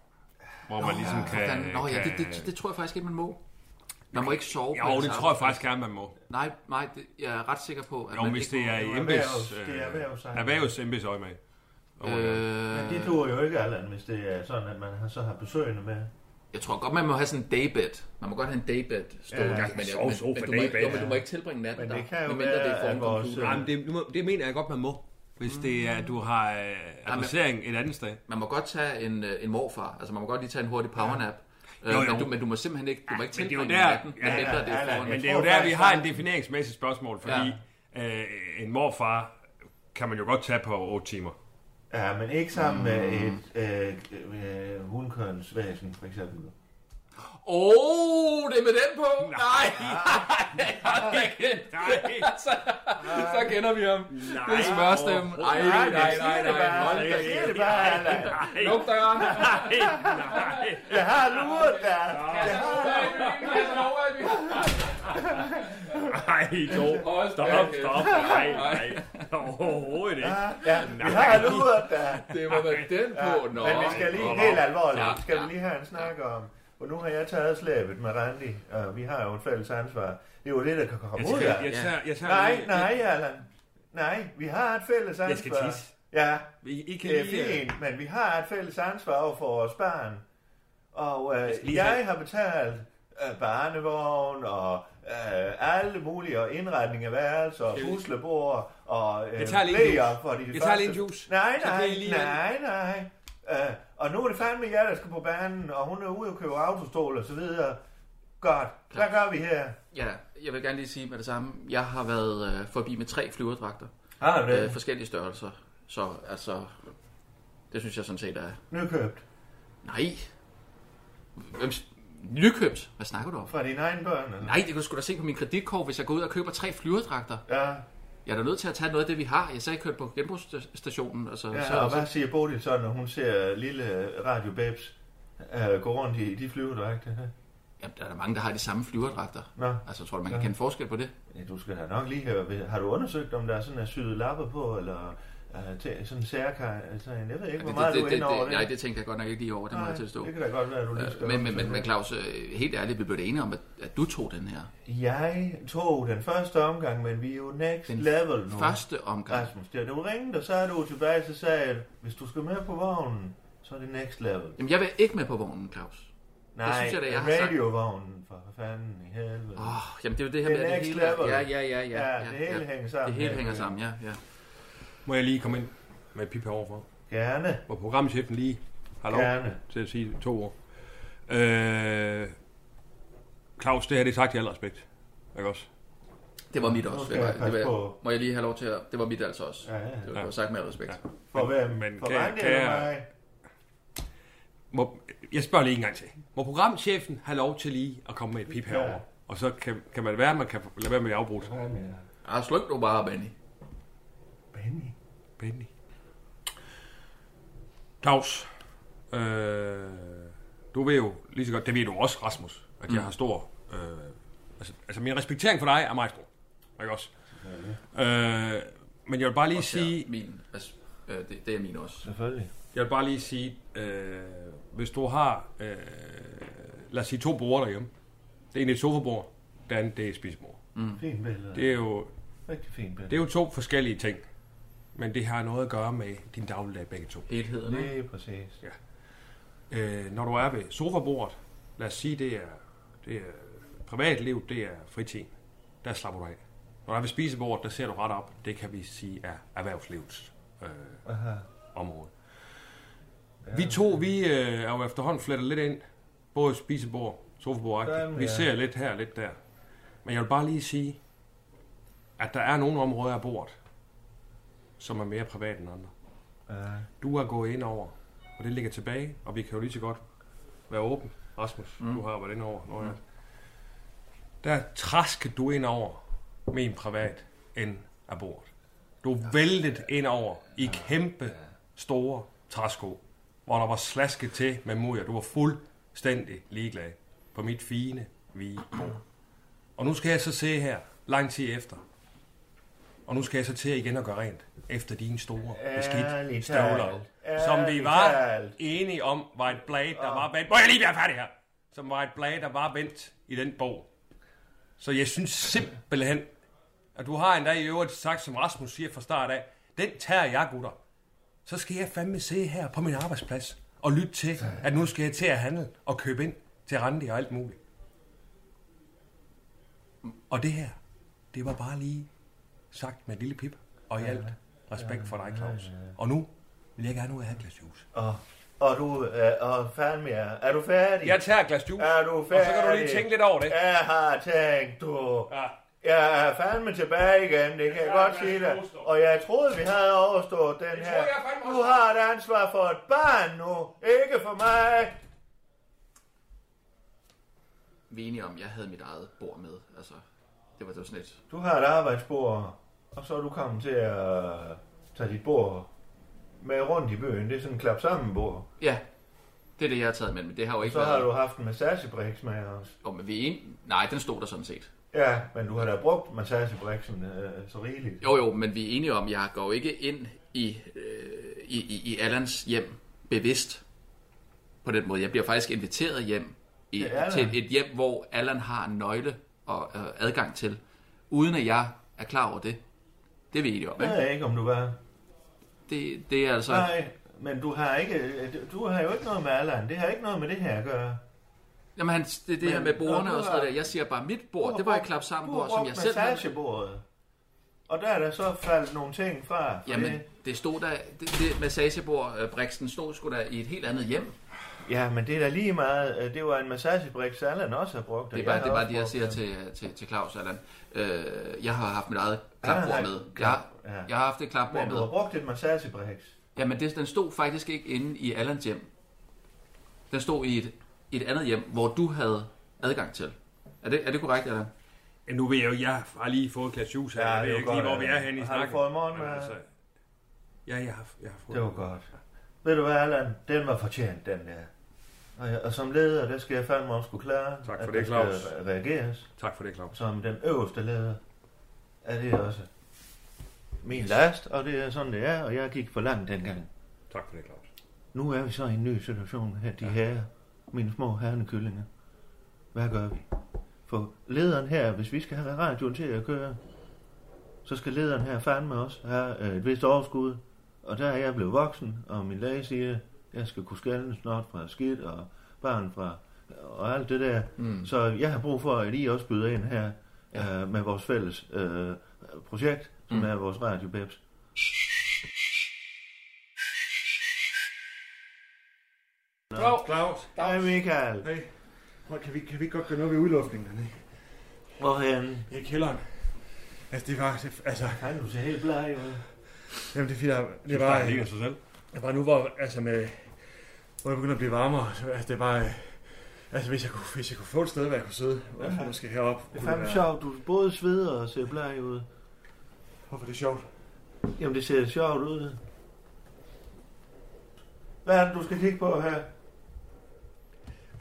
S6: Hvor man ligesom kan...
S1: fanden. Nå ja,
S6: kan-
S1: det, det, det tror jeg faktisk ikke, man må. Man må ikke sove. på
S6: Jo,
S1: ens
S6: det tror jeg
S1: arbejde.
S6: faktisk gerne, man må.
S1: Nej, nej, det, jeg er ret sikker på, at
S6: Jo,
S1: man
S6: hvis det
S1: ikke
S6: er
S1: må.
S6: i
S3: jo
S6: embeds... øh,
S3: erhvervs- det er erhvervs-
S6: erhvervs embedsøje med.
S1: Øh,
S3: Det duer jo ikke, Allan, hvis det er sådan, at man har, så har besøgende med.
S1: jeg tror godt, man må have sådan en daybed. Man må godt have en daybed stående.
S3: Ja,
S1: Ja,
S3: en
S1: men,
S6: sov- sofa,
S1: men, du må, ikke- jo,
S6: daybed,
S1: men du
S6: ja.
S1: må ikke tilbringe natten
S3: Men
S1: der.
S3: det kan jo
S1: medmindre det er
S3: være,
S1: foran
S3: at vores,
S1: computeren.
S3: øh,
S6: Jamen, det, nu må- det mener jeg godt, man må. Hvis det er, at du har øh, adressering et andet sted.
S1: Mm. Man må godt tage en, øh, en morfar. Altså, man må godt lige tage en hurtig powernap. Øh,
S6: Jo, jo.
S1: Men, du, men du må simpelthen ikke, du må ikke
S6: men det er jo
S1: tilbringe
S6: der-
S1: natten.
S6: ja,
S1: Men mindre det er
S3: ja, ja,
S1: foran.
S3: ja.
S6: Men det er
S3: tror
S6: jo der, vi
S3: faktisk,
S6: har
S3: der-
S6: en defineringsmæssigt spørgsmål, fordi øh, en morfar kan man jo godt tage på 8 timer.
S3: Ja, men ikke sammen mm. med et øh, øh, hundkønsvæsen, for eksempel.
S1: Åh, det er med den på! Nej! så, så kender vi ham. Nej. Det er smørstemme. Nej, nej, nej, nej, nej. Hold da.
S3: Jeg siger det bare, Allan.
S1: Luk døren.
S3: Jeg har luret dig. Jeg har...
S6: Nej,
S1: Hold
S6: to. Stop,
S1: da kæft.
S6: stop. Nej, nej. Overhovedet ikke.
S3: Ja, vi har luret dig.
S1: Det var med den på. Nå.
S3: Men vi skal lige helt
S1: Ja,
S3: alvorligt. Skal vi
S1: ja.
S3: lige have en snak om... Og nu har jeg taget slæbet med Randi, og vi har jo en fælles ansvar. Det er jo det, der kan komme
S6: Jeg
S3: ud
S6: tager,
S3: af.
S6: jeg tager, jeg tager
S3: Nej, nej, Allan. Nej, vi har et fælles ansvar.
S6: Jeg skal tisse.
S3: Ja,
S6: I, I kan
S3: det er
S6: lige, øh,
S3: fint, men vi har et fælles ansvar over for vores barn. Og øh,
S6: skal
S3: jeg,
S6: lige have-
S3: har betalt øh, barnevogn og øh, alle mulige og indretning af værelser og puslebord og øh,
S6: Jeg tager lige en
S3: bleer
S6: juice.
S3: for de første.
S6: Jeg tager lige en juice.
S3: Nej,
S6: Så
S3: nej,
S6: bliver I lige-
S3: nej, nej. Øh, og nu er det fandme jer, der skal på banen, og hun er ude og købe autostol og så videre. Godt, hvad gør vi her?
S1: Ja, jeg vil gerne lige sige med det samme. Jeg har været øh, forbi med tre flyverdragter.
S3: Har du
S1: Øh,
S3: det?
S1: forskellige størrelser. Så altså, det synes jeg sådan set er...
S3: Nykøbt
S1: Nej. Hvem, s- nykøbt? Hvad snakker du om?
S3: fra dine egne børn? Eller?
S1: Nej, det kan du sgu da se på min kreditkort, hvis jeg går ud og køber tre flyverdragter.
S3: Ja.
S1: Jeg er da nødt til at tage noget af det, vi har. Jeg sagde, jeg kørte på genbrugsstationen. Altså,
S3: Ja,
S1: så,
S3: og hvad siger Bodil så, når hun ser lille Radio Babes øh, gå rundt i de flyvedragter?
S1: Jamen, der er der mange, der har de samme flyverdragter.
S3: Nå,
S1: Altså, jeg tror, man kan kende forskel på det.
S3: ja, du skal da nok lige høre. Har du undersøgt, om der er sådan en syet lapper på, eller øh, til- sådan en særkar? Altså, jeg ved ikke, hvor meget
S1: det,
S3: du er
S1: det,
S3: inde over
S1: det,
S3: det.
S1: nej, det tænkte jeg godt nok ikke lige over, det må
S3: Nej,
S1: jeg tilstå.
S3: det kan da godt være, at du lige skal
S1: Men, men, men,
S3: undersøge
S1: men
S3: det.
S1: Claus, øh, helt ærligt, vi blev det enige om, at, at du tog den her.
S3: Jeg tog den første omgang, men vi er jo next
S1: Den
S3: level nu.
S1: Første omgang.
S3: Rasmus, det du ringede, og så er du tilbage, så sagde jeg, hvis du skal med på vognen, så er det next level.
S1: Jamen, jeg vil ikke med på vognen, Claus.
S3: Nej,
S1: synes jeg da, jeg har sagt.
S3: radiovognen, for fanden i helvede.
S1: Åh, oh, jamen det er jo det her
S3: Det er
S1: med, at det
S3: next
S1: hele,
S3: level.
S1: ja, ja, ja, ja,
S3: Ja, det hele hænger sammen.
S1: Det hele
S3: Ja,
S1: hænger
S3: ja.
S1: sammen, ja, ja.
S6: må jeg lige komme ind med et pip heroverfor.
S3: Gerne.
S6: Hvor programchefen lige har lov
S3: Gerne.
S6: til at sige to ord. Øh, Claus, det her det er sagt i al respekt. Ikke også?
S1: Det var mit
S3: Nu
S1: også.
S3: skal
S1: Det var,
S3: jeg passe
S1: det var,
S3: på.
S1: må jeg lige have lov til at... Det var mit altså også.
S3: Ja, ja, ja.
S1: Det var, det var sagt med al respekt.
S6: Ja.
S3: For hvem?
S6: men
S3: for
S6: kan-
S3: Randi
S6: kan
S3: eller
S6: jeg-
S3: mig?
S6: Må, jeg spørger lige en gang til. Må programchefen have lov til lige at komme med et pip herover? Og så kan, kan man være, at man kan lade være med at afbrudt.
S1: Ah, sluk nu bare, Benny.
S3: Benny.
S6: Benny. Claus, øh, du ved jo lige så godt, det ved du også, Rasmus, at
S1: Mm.
S6: jeg har stor... Øh, altså, altså, min respektering for dig er meget stor. Ikke også? Øh, men jeg vil bare lige sige...
S1: Ja, min, altså, øh, det, det er min også.
S3: Selvfølgelig.
S6: Jeg vil bare lige sige, øh, hvis du har, øh, lad os sige, to borde derhjemme. Det ene er et sofabord, Dan, det er spidsmor.
S3: Mm. Fint billede.
S6: Det er jo,
S3: Rigtig fint billede.
S6: det er jo to forskellige ting. Men det har noget at gøre med din dagligdag begge to.
S1: Helheden, ikke?
S3: Lige præcis.
S6: Øh, når du er ved sofabordet, lad os sige, det er, det er privatliv, det er fritid. Der slapper du af. Når du er ved spisebordet, der ser du ret op. Det kan vi sige er erhvervslivets øh,
S3: Aha.
S6: område. Vi to, vi øh, er jo efterhånden flettet lidt ind. Både spisebord, sofabord.
S3: Fandme,
S6: Vi
S3: ja.
S6: ser lidt her, lidt der. Men jeg vil bare lige sige, at der er nogle områder af bordet, som er mere private end andre
S3: Ja.
S6: du har gået ind over, og det ligger tilbage, og vi kan jo lige så godt være åben. Rasmus, mm. du har været ind over. Nå, ja. Der traskede du ind over med en privat end af bordet. Du væltede ind over i kæmpe store træsko, hvor der var slasket til med mudder. Du var fuldstændig ligeglad på mit fine, hvide bord. Og nu skal jeg så se her, lang tid efter. Og nu skal jeg så til igen at gøre rent efter dine store, beskidte
S3: Ærligt
S6: støvler.
S3: talt.
S6: Som vi var
S3: Ærligt talt.
S6: enige om, var et blad, der var vendt. Må jeg lige være færdig her? Som var et blad, der var vendt i den bog. Så jeg synes simpelthen, at du har endda i øvrigt sagt, som Rasmus siger fra start af, den tager jeg, gutter. Så skal jeg fandme se her på min arbejdsplads og lytte til, at nu skal jeg til at handle og købe ind til Randi og alt muligt. Og det her, det var bare lige sagt med et lille pip og i alt respekt for dig, Claus. Og nu vil jeg gerne ud og have et glas juice.
S3: Og, og du er, og fandme er, er du færdig?
S6: Jeg tager et glas juice,
S3: er du
S6: og
S3: færdig?
S6: så kan du lige tænke lidt over det.
S3: Jeg har tænkt, du.
S6: Ja.
S3: Jeg er fandme tilbage igen, det kan jeg godt sige dig. Og jeg troede, vi havde overstået den her.
S6: jeg fandme
S3: Du
S6: også.
S3: har et ansvar for et barn nu, ikke for mig.
S1: Vi er enige om, jeg havde mit eget bord med. Altså, det var, det var sådan et...
S3: Du har et arbejdsbord, og så er du kommet til at øh, tage dit bord med rundt i byen. Det er sådan en klap sammen bord.
S1: Ja, det er det, jeg har taget med, men det har jo ikke
S3: Så har
S1: været...
S3: du haft en massagebriks med os.
S1: Oh, men vi er en... Nej, den stod der sådan set.
S3: Ja, men du har da brugt massagebriksen øh, så rigeligt.
S1: Jo, jo, men vi er enige om, jeg går ikke ind i, øh, i, i, i Allans hjem bevidst på den måde. Jeg bliver faktisk inviteret hjem i,
S3: Det er
S1: til
S3: der.
S1: et hjem, hvor Allan har en nøgle og øh, adgang til, uden at jeg er klar over det. Det er vi enige om,
S3: Jeg
S1: ikke?
S3: ved ikke, om du var.
S1: Det, det er altså...
S3: Nej, men du har ikke, øh, du har jo ikke noget med alderen. Det har ikke noget med det her at gøre.
S1: Jamen, han, det, det her med bordene og sådan noget der. Jeg siger bare, mit bord, det var et klap
S3: Du
S1: sammen
S3: har
S1: bord, som
S3: brugt
S1: jeg selv havde.
S3: massagebordet. Og der er der så faldet nogle ting fra. for
S1: Jamen,
S3: det-
S1: det stod der, det, det massagebord, øh, Brixen stod sgu da i et helt andet hjem.
S3: ja, men det er da lige meget. øh, Det var en massagebrik, så Allan også har brugt. og
S1: Det er
S3: jeg
S1: bare
S3: har
S1: det, er bare
S3: også
S1: det jeg
S3: brugt
S1: siger
S3: den.
S1: til, til, til Claus Allan. Øh, jeg har haft mit eget
S3: har
S1: klapbord
S3: et
S1: med. Jeg,
S3: klap- ja.
S1: jeg har haft et klapbord
S3: Men du
S1: med.
S3: har brugt et massagebriks.
S1: Jamen, det, den stod faktisk ikke inde i Allans hjem. Den stod i et, i et andet hjem, hvor du havde adgang til. Er det, er det korrekt, Allan?
S6: Men nu ved jeg jo, jeg har lige fået et glas juice her.
S3: Ja,
S6: jeg
S3: det er
S6: ved
S3: jo
S6: ikke lige,
S3: godt,
S6: hvor vi
S3: ja.
S6: er henne
S3: Har
S6: i
S3: du
S6: snakken. altså,
S3: fået morgenmad?
S6: Men Ja, jeg har, jeg har fået
S3: Det var godt. Ved du hvad, Allan? Den var fortjent, den der. Og, jeg, og som leder, der skal jeg fandme også kunne klare,
S6: Tak for
S3: at
S6: det,
S3: der
S6: Claus.
S3: skal reageres.
S6: Tak for det, Claus.
S3: som den øverste leder, er det også min last, og det er sådan, det er, og jeg gik for langt dengang.
S6: Tak for det, Claus.
S3: Nu er vi så i en ny situation her, de her, mine små hernekyllinger. Hvad gør vi? For lederen her, hvis vi skal have radioen til at køre, så skal lederen her fandme også have øh, et vist overskud. Og der er jeg blevet voksen, og min læge siger, jeg skal kunne skælne snart fra skidt og barn fra og alt det der. Mm. Så jeg har brug for, at I også byder ind her øh, med vores fælles øh, projekt, som mm. er vores radiobeps.
S7: Claus,
S3: Hej Michael.
S7: hey. Prøv, kan, vi, kan vi ikke godt gøre noget ved udluftningen dernede?
S3: Hvorhen?
S7: Det er kælderen. Altså, det var... Det, altså,
S3: Han du ser helt bleg ud.
S7: jamen, det er fordi, der- det var...
S6: Bare ligger sig selv.
S7: Det var nu, hvor, altså med, hvor det begynder at blive varmere. Så, altså, det var... øh, Altså, hvis jeg, kunne, hvis jeg kunne få et sted, hvor jeg kunne sidde, ja. måske heroppe.
S3: Det er
S7: kunne
S3: fandme
S7: være-
S3: sjovt, du både sveder og ser bleg ud.
S7: Hvorfor er det sjovt?
S3: Jamen, det ser sjovt ud. Hvad er det, du skal kigge på her?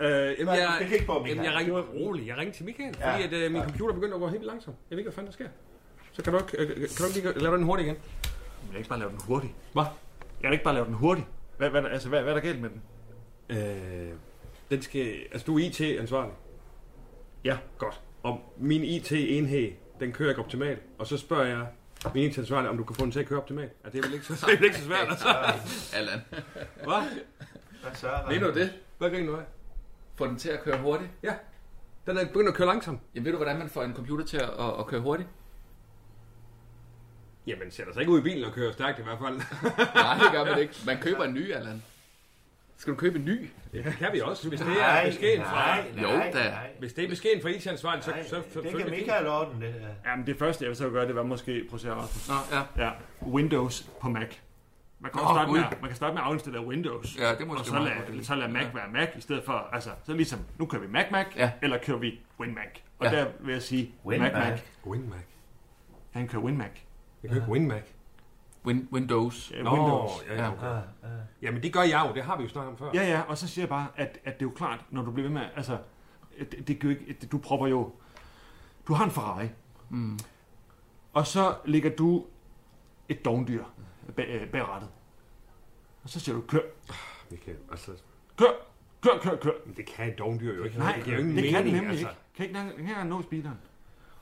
S6: Øh,
S3: Hvad
S6: jamen,
S3: er det,
S6: jeg,
S3: du skal kigge på, Michael?
S6: jamen, jeg ringte rolig. Jeg ringte til Michael,
S3: Ja.
S6: ja. fordi at, øh, min computer begyndte at gå helt langsomt. Jeg ved ikke, hvad fanden der sker. Så kan du ikke, øh, kan du ikke lige gøre- lave den hurtigt igen?
S7: Jeg kan ikke bare lave den hurtigt.
S6: Hvad?
S7: Jeg kan ikke bare lave den hurtigt. Hvad, hvad, altså, hvad, hvad er der galt med den?
S6: Øh, den skal, altså, du er IT-ansvarlig.
S7: Ja.
S6: Godt. og min IT-enhed, den kører ikke optimalt. Og så spørger jeg min IT-ansvarlig, om du kan få den til at køre optimalt. Ja, det er vel ikke så, det er vel ikke så svært, altså.
S1: Allan,
S6: Hvad?
S3: Hvad så?
S1: mener du det?
S6: Hvad griner du af?
S1: Få den til at køre hurtigt?
S6: Ja, den er begyndt at køre langsomt.
S1: Jamen ved du, hvordan man får en computer til at, at, at køre hurtigt?
S6: Jamen, sætter sig ikke ud i bilen og kører stærkt i hvert fald.
S1: Nej, det gør man ikke. Man køber en ny, Allan. Skal du købe en ny?
S6: Ja, det kan vi også, hvis det er beskeden fra,
S1: Jo, da.
S6: hvis det er beskeden fra IT-ansvarlig, så,
S3: Nej,
S6: så, så,
S3: det
S6: så
S3: kan Michael ordne, det her.
S7: Jamen, det første, jeg vil så gøre, det var måske, prøv at se her, Rasmus.
S1: Nå, ja.
S7: Ja, Windows på Mac. Man kan,
S1: Nå,
S7: oh, starte med,
S1: Gud.
S7: at- man kan starte med at afinstallere Windows.
S1: Ja, det er måske
S7: og så
S1: meget
S7: lade,
S1: godt, det
S7: så lade Mac
S1: Ja.
S7: være Mac, i stedet for, altså, så ligesom, nu kører vi Mac Mac,
S1: Ja.
S7: eller kører vi Win Mac. Og
S1: Ja.
S7: der vil jeg sige,
S3: Win
S7: Mac
S3: Mac.
S7: Mac,
S6: WinMac.
S7: han kører Win Mac.
S6: Jeg kan ikke WinMac.
S1: Win- Windows.
S7: Øh,
S6: Nå,
S7: Windows.
S6: ja, ja, okay. Jamen, det gør jeg jo. Det har vi jo snakket om før.
S7: Ja, ja, og så siger jeg bare, at, at det er jo klart, når du bliver ved med, altså, det, det kan jo ikke, det, du propper jo, du har en Ferrari,
S1: Mm.
S7: og så ligger du et dogndyr bag, øh, bag rattet. Og så siger du, kør,
S6: Michael, altså,
S7: kør, kør, kør, kør.
S6: men det kan et dogndyr jo ikke.
S7: Nej,
S6: det giver jo ingen
S7: det
S6: mening.
S7: kan den nemlig
S6: altså.
S7: ikke. Kan ikke, den kan ikke nå speederen.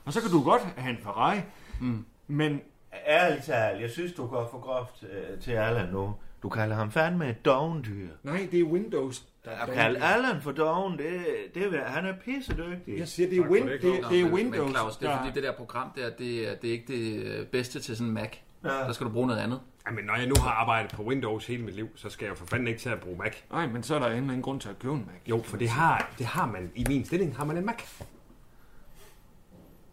S7: Og så kan du godt have en Ferrari,
S1: Mm.
S7: men
S3: Ærligt talt, jeg synes, du går for groft øh, til Allan nu. Du kalder ham fandme et dogendyr.
S6: Nej, det er Windows. Der er
S3: At kalde Allan for dogen, det, det vil, han er pissedygtig.
S7: jeg siger, det er,
S6: Tak for
S7: win,
S6: det,
S7: det,
S6: Claus.
S7: det, er
S1: men-
S7: Windows,
S1: Men Claus, det er fordi,
S7: der...
S1: det der program der, det, er- det er ikke det øh, bedste til sådan en Mac.
S3: Ja.
S1: Der skal du bruge noget andet.
S6: Jamen, når jeg nu har arbejdet på Windows hele mit liv, så skal jeg jo for fanden ikke til at bruge Mac.
S7: Nej, men så er der en eller anden grund til at købe en Mac.
S6: Jo, for det har, det har man. I min stilling har man en Mac.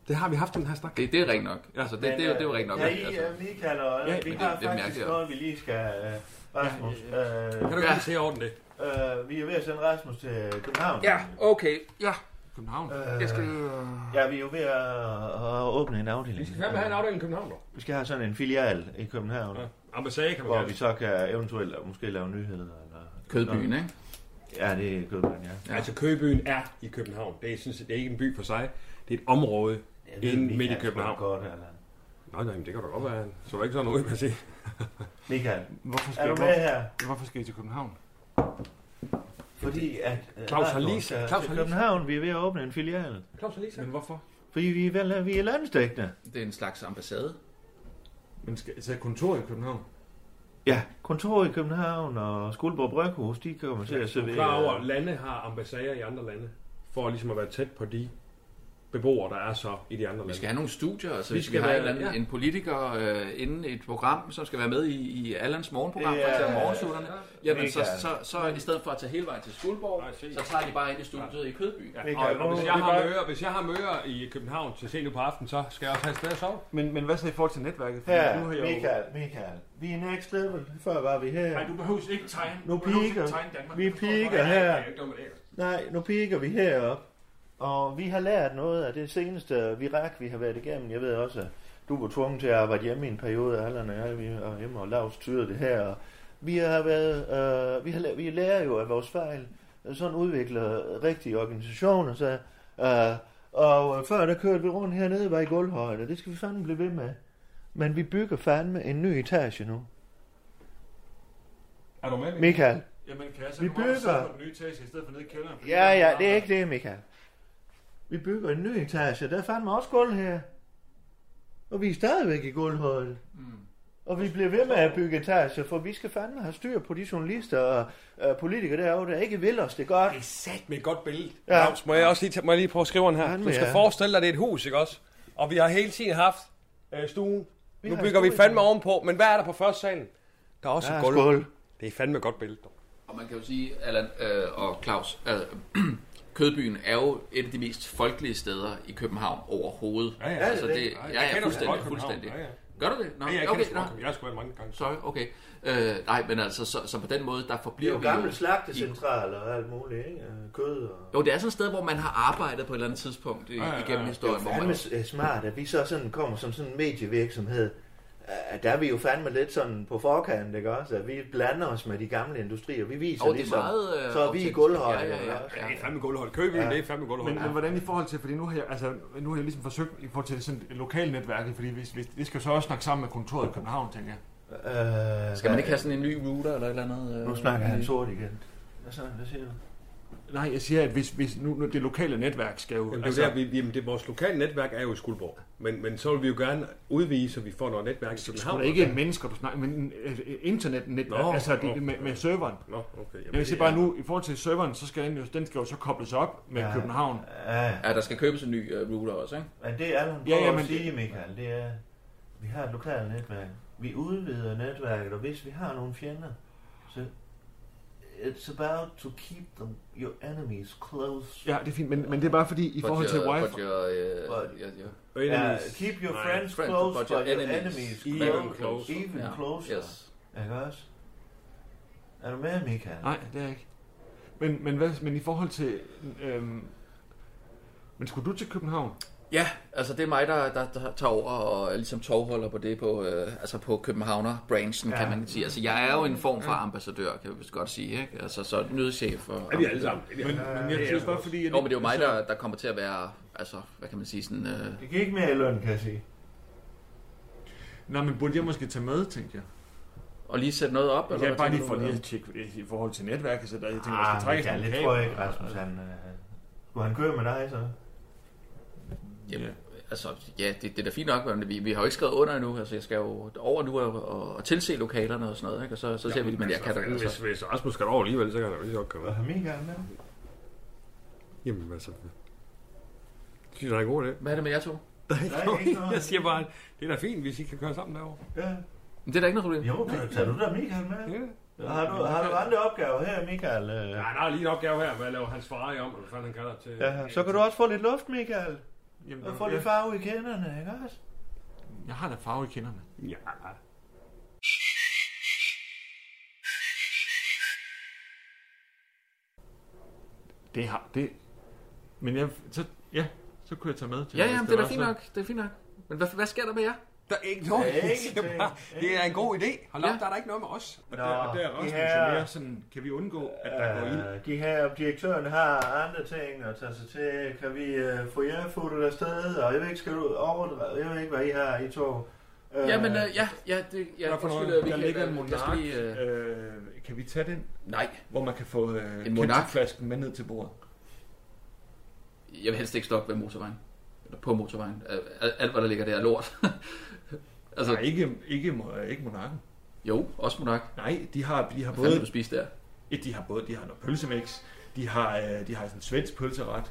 S6: Det har vi haft den her snak.
S1: Det, det er rent nok. Altså, det, det, det, er jo- det er jo rent nok.
S3: Ja, I,
S1: altså.
S3: altså. Michael og Allan,
S7: Ja,
S3: vi
S1: men
S3: har
S1: det- det
S3: faktisk
S1: mærker jeg.
S3: noget, vi lige skal... Øh, Rasmus, øh,
S6: Kan du
S1: Ja.
S6: ikke se orden det?
S3: øh, vi er ved at sende Rasmus til København.
S1: okay. Ja.
S7: København.
S3: Øh,
S1: Jeg skal...
S3: Ja, vi er jo ved at, at åbne en afdeling.
S6: afdeling i København, dog.
S3: Vi skal have sådan en filial i København, ja.
S6: Ambassade kan man
S3: hvor
S6: kalde
S3: vi
S6: det.
S3: så kan eventuelt måske lave nyheder. Eller...
S1: Kødbyen, ikke?
S3: Ja, det er Kødbyen, ja.
S1: Ja.
S6: Altså, Køgebyen er i København. Det er, synes, det er ikke en by for sig. Det er et område
S3: Jeg ved,
S6: inde midt i
S3: Michael
S6: København.
S3: tror Godt, Allan.
S6: Nej, nej, men det kan da godt være. Så er der ikke sådan noget, man siger.
S3: Michael,
S7: Hvorfor skal,
S3: er
S7: jeg,
S3: du med
S7: hvor,
S3: her?
S7: hvorfor skal I til København?
S3: Fordi at... øh,
S6: Claus har
S3: Rasmus
S6: lige-
S3: er
S6: Claus
S3: til
S6: har lige-
S3: København, vi er ved at åbne en filial.
S6: Claus og Lisa.
S7: Men hvorfor?
S3: Fordi vi er, vel, vi er landstækkende.
S1: Det er en slags ambassade.
S7: Men skal, så er kontor i København?
S3: Ja, kontor i København og Skuldborg Bryghus, de kommer til at servere...
S6: klar over, at lande har ambassader i andre lande, for ligesom at være tæt på de beboere, der er så i de andre lande.
S1: Vi skal have nogle studier, altså
S6: Vi
S1: hvis vi
S6: skal
S1: har
S6: være-
S1: en, eller anden,
S6: ja.
S1: en politiker øh, inden et program, som skal være med i, i Allans morgenprogram,
S3: Det
S1: for
S3: er-
S1: eksempel morgensutterne, jamen så,
S3: Mega.
S1: så, så, i stedet for at tage hele vejen til Skuldborg,
S6: Nej, se.
S1: så tager de bare ind i studiet i Kødby. Ja.
S3: Michael,
S6: Og, og hvis,
S3: nu-
S6: jeg
S3: det er
S6: har
S3: bare-
S6: møder, hvis jeg har møder i København til sent på aften, så skal jeg også have et sted at sove.
S7: Men, men hvad så i forhold til netværket? Fordi
S3: Her,
S7: nu har jeg jo-
S3: Michael, Michael. Vi er next level. Før var vi her.
S5: Nej, du behøver ikke tegne.
S3: Nu
S5: du behøves ikke
S3: piker.
S5: tegne Danmark.
S3: Vi
S5: Du forstår
S3: piker
S5: godt.
S3: her.
S5: Det er jo ikke noget med det.
S3: Nej, nu piker vi herop. Og vi har lært noget af det seneste virak, vi har været igennem. Jeg ved også, at du var tvunget til at arbejde hjemme i en periode. Allan og jeg vi var hjemme og lavs tyrede det her. Og vi, har været, øh, vi, har, læ- vi lærer jo af vores fejl. Sådan udvikler rigtige organisationer. Så, øh, og før der kørte vi rundt hernede, var i gulvhøjde. Det skal vi fandme blive ved med. Men vi bygger fandme en ny etage nu.
S6: Er du med?
S3: Michael.
S7: Jamen, kan jeg så
S3: Vi
S7: komme op og sidde
S3: bygger.
S7: på den nye etage, i stedet for nede i kælderen? Fordi
S3: Ja, ja,
S7: der-
S3: det er ikke det, Michael. Vi bygger en ny etage. Der er fandme også gulv her. Og vi er stadigvæk i gulvhøjde. Mm. Og vi bliver ved med at bygge etager, for vi skal fandme have styr på de journalister og øh, politikere derovre, der ikke vil os det godt.
S6: Sat med et godt billede.
S3: Ja.
S6: Claus, må jeg også lige, tage, må jeg lige prøve at skrive den her?
S3: Fandme,
S6: Du skal
S3: Ah, ja.
S6: forestille dig, det er et hus, ikke også? Og vi har hele tiden haft øh, stuen.
S3: Vi
S6: nu
S3: har
S6: bygger vi
S3: stuen.
S6: fandme ovenpå. Men hvad er der på første salen? Der er også
S3: Der
S6: et
S3: er
S6: gulv.
S3: gulv.
S6: Det er fandme et godt billede. dog.
S1: Og man kan jo sige, Allan øh, og Claus, øh, Kødbyen er jo et af de mest folkelige steder i København overhovedet.
S6: Ja, ja.
S1: altså,
S3: Er det
S1: det,
S3: det?
S1: ja,
S6: jeg
S1: ja,
S6: kender
S1: fuldstændig,
S6: godt København.
S1: fuldstændig.
S6: Ja, ja.
S1: Gør du det? Nå,
S6: Ja, jeg
S1: okay,
S6: okay,
S1: nå.
S6: kender no. Jeg har sgu været mange gange.
S1: Sorry, okay. Øh, nej, men altså, så, så på den måde, der
S3: Det er
S1: forbliver
S3: jo
S1: vi jo-
S3: gamle slagtecentraler og alt muligt, ikke? Øh, Kød og...
S1: Jo, det er sådan et sted, hvor man har arbejdet på et eller andet tidspunkt i, ja,
S6: ja,
S1: ja,
S6: ja.
S1: igennem historien.
S3: Det er
S1: hvor
S3: fandme
S1: man,
S3: s- øh, smart, at vi så sådan kommer som sådan en medievirksomhed. Øh, Der er vi jo fandme lidt sådan på forkant, ikke også? At vi blander os med de gamle industrier. Vi viser
S1: og det er
S3: ligesom,
S1: meget... øh,
S3: så er vi i
S1: autentisk.
S3: gulvhøjde.
S1: Ja, ja, ja.
S3: ikke også?
S6: Ja,
S1: ja,
S6: det er
S1: ja.
S6: fandme gulvhold. Købyen,
S3: Ja.
S6: det er fandme gulvhold.
S7: Men,
S6: Ja.
S7: men hvordan i forhold til, fordi nu har jeg, altså, nu har jeg ligesom forsøgt i forhold til sådan et lokalnetværket, fordi hvis, hvis, det skal jo så også snakke sammen med kontoret i København, tænker jeg.
S3: Øh,
S1: Skal man ikke have sådan en ny router eller et eller andet? øh,
S3: Nu snakker han
S1: i-
S3: sort igen. Hvad så? Hvad siger du?
S7: Nej, jeg siger, at hvis, hvis nu, nu det lokale netværk skal jo...
S8: Jamen, det er jo der, vi, vi- jamen, det, vores lokale netværk er jo i Skuldborg. Men, men så vil vi jo gerne udvige, så vi får noget netværk i
S7: Sgu
S8: København.
S7: da ikke mennesker, du snakker, men øh, internetnetværk,
S8: Nå,
S7: altså det,
S8: nå.
S7: med, med serveren.
S8: Nå, okay. Jamen,
S7: Jeg vil
S8: det
S7: sige bare nu, i forhold til serveren, så skal den, jo, den skal jo så kobles op med
S3: Ja.
S7: ja. København.
S3: Ja, ja.
S1: Ja, der skal købes en ny øh, router også, ikke?
S3: Men det Allan
S7: Ja,
S3: prøver
S7: ja,
S3: ja,
S7: men
S3: at sige,
S7: det-
S3: Michael, det er, vi har et lokalt netværk. Vi udvider netværket, og hvis vi har nogle fjender, så it's about to keep them, your enemies close.
S7: Ja, det er fint, men, men det er bare fordi, i forhold til
S1: But
S7: wifi...
S1: your,
S3: But-
S1: uh, your, your,
S8: Og
S3: Ja,
S8: enemies.
S3: keep your
S8: Nej,
S3: friends
S1: friends,
S3: close,
S1: but your enemies
S3: close,
S8: even closer.
S3: Even
S1: ja,
S3: closer.
S1: Yes.
S3: Ikke også? Er du med, Michael?
S7: Nej, det er jeg ikke. Men, men, hvad, men i forhold til... Øhm, men skulle du til København?
S1: Ja, altså det er mig, der, der, der tager over og er ligesom tovholder på det på, øh, altså på Københavner-branchen, ja. kan man sige. Altså jeg er jo en form for ambassadør, kan vi vist godt sige, ikke? Altså så nødchef og...
S8: Er vi alle sammen?
S7: Men, men jeg synes bare fordi... At
S1: Jo, men det er jo mig, der, der kommer til at være, altså, hvad kan man sige, sådan... Øh,
S3: Det gik ikke mere i løn, kan jeg sige.
S7: Nej, men burde jeg måske tage med, tænkte jeg.
S1: og lige sætte noget op, eller
S7: Jeg
S1: hvad
S7: er bare
S1: tænker
S7: lige for
S1: du?
S7: lige at tjekke i forhold til netværket, så der, jeg tænker, jeg
S3: Ah,
S7: skal trække
S3: Michael,
S7: sådan en
S3: det tror jeg ikke, Rasmus, han... øh, Skulle han køre med dig, så?
S1: Jamen, altså, ja, det, det er da fint nok, men vi, vi har jo ikke skrevet under endnu. Altså, jeg skal jo over nu og, og, og tilse lokalerne og sådan noget, ikke? Og så, så ser vi, men jeg kan da...
S6: Hvis,
S1: Altså,
S6: hvis Rasmus skal over alligevel, så kan han jo lige så godt komme.
S3: Hvad har Michael med?
S8: Jamen, altså.
S6: Det synes jeg er en god idé.
S1: hvad er det med jer to?
S3: Nej, ikke noget.
S6: Jeg siger bare, det er da fint, hvis I kan køre sammen derovre.
S3: Ja.
S1: Men det er da ikke noget problem.
S3: Jo, det- tager du da Michael med?
S6: Ja.
S3: Har du, har du andre opgaver her, Michael? Øh,
S6: Ja, der er lige en opgave her, hvad jeg laver hans Ferrari om, eller hvad fanden han kalder til.
S3: Ja, så kan du også få lidt luft, Michael.
S7: Jamen,
S3: Og få lidt farve i kenderne, ikke også?
S7: jeg har da farve i kinderne.
S6: Ja.
S7: Det har... Det... Men jeg... Så, ja, så kunne jeg tage med til...
S1: Ja,
S7: hvis
S1: jamen, det er
S7: var
S1: da fint
S7: sådan.
S1: nok. Det er fint nok. Men hvad, hvad sker der med jer?
S6: Der er ikke noget.
S3: Ja, ikke
S6: Det er, bare, det er en god idé. Hold op, der er der ikke noget med os.
S7: Og der, og der er Rasmus
S3: de her,
S7: jo mere sådan, kan vi undgå, at der går ild?
S3: øh, de her direktøren har andre ting at tage sig til. Kan vi øh, få jer fotot afsted? Og jeg ved ikke, skal du overdrive? Jeg ved ikke, hvad I har i to. Øh,
S1: Jamen, øh, ja, ja, det, ja,
S6: Hvad for
S1: undskyld,
S6: noget?
S1: øh, vi
S7: Der
S1: kan-
S7: ligger en
S1: øh, jeg skal
S7: monark.
S1: lige, øh,
S7: Øh, kan vi tage den,
S1: Nej,
S7: hvor man kan få øh,
S1: En monark?
S7: flasken med ned til bordet?
S1: jeg vil helst ikke stoppe ved motorvejen. Eller på motorvejen. Øh, Alt, alt hvad der ligger der er lort. altså,
S7: Nej, ikke, ikke, mo- ikke monarken.
S1: jo, også monark. Hvad
S7: Nej, de har, de har
S1: fanden har
S7: både...
S1: du spist der?
S7: Ja, de har både, de har noget pølsemix, de har, øh, de har sådan en svensk pølseret.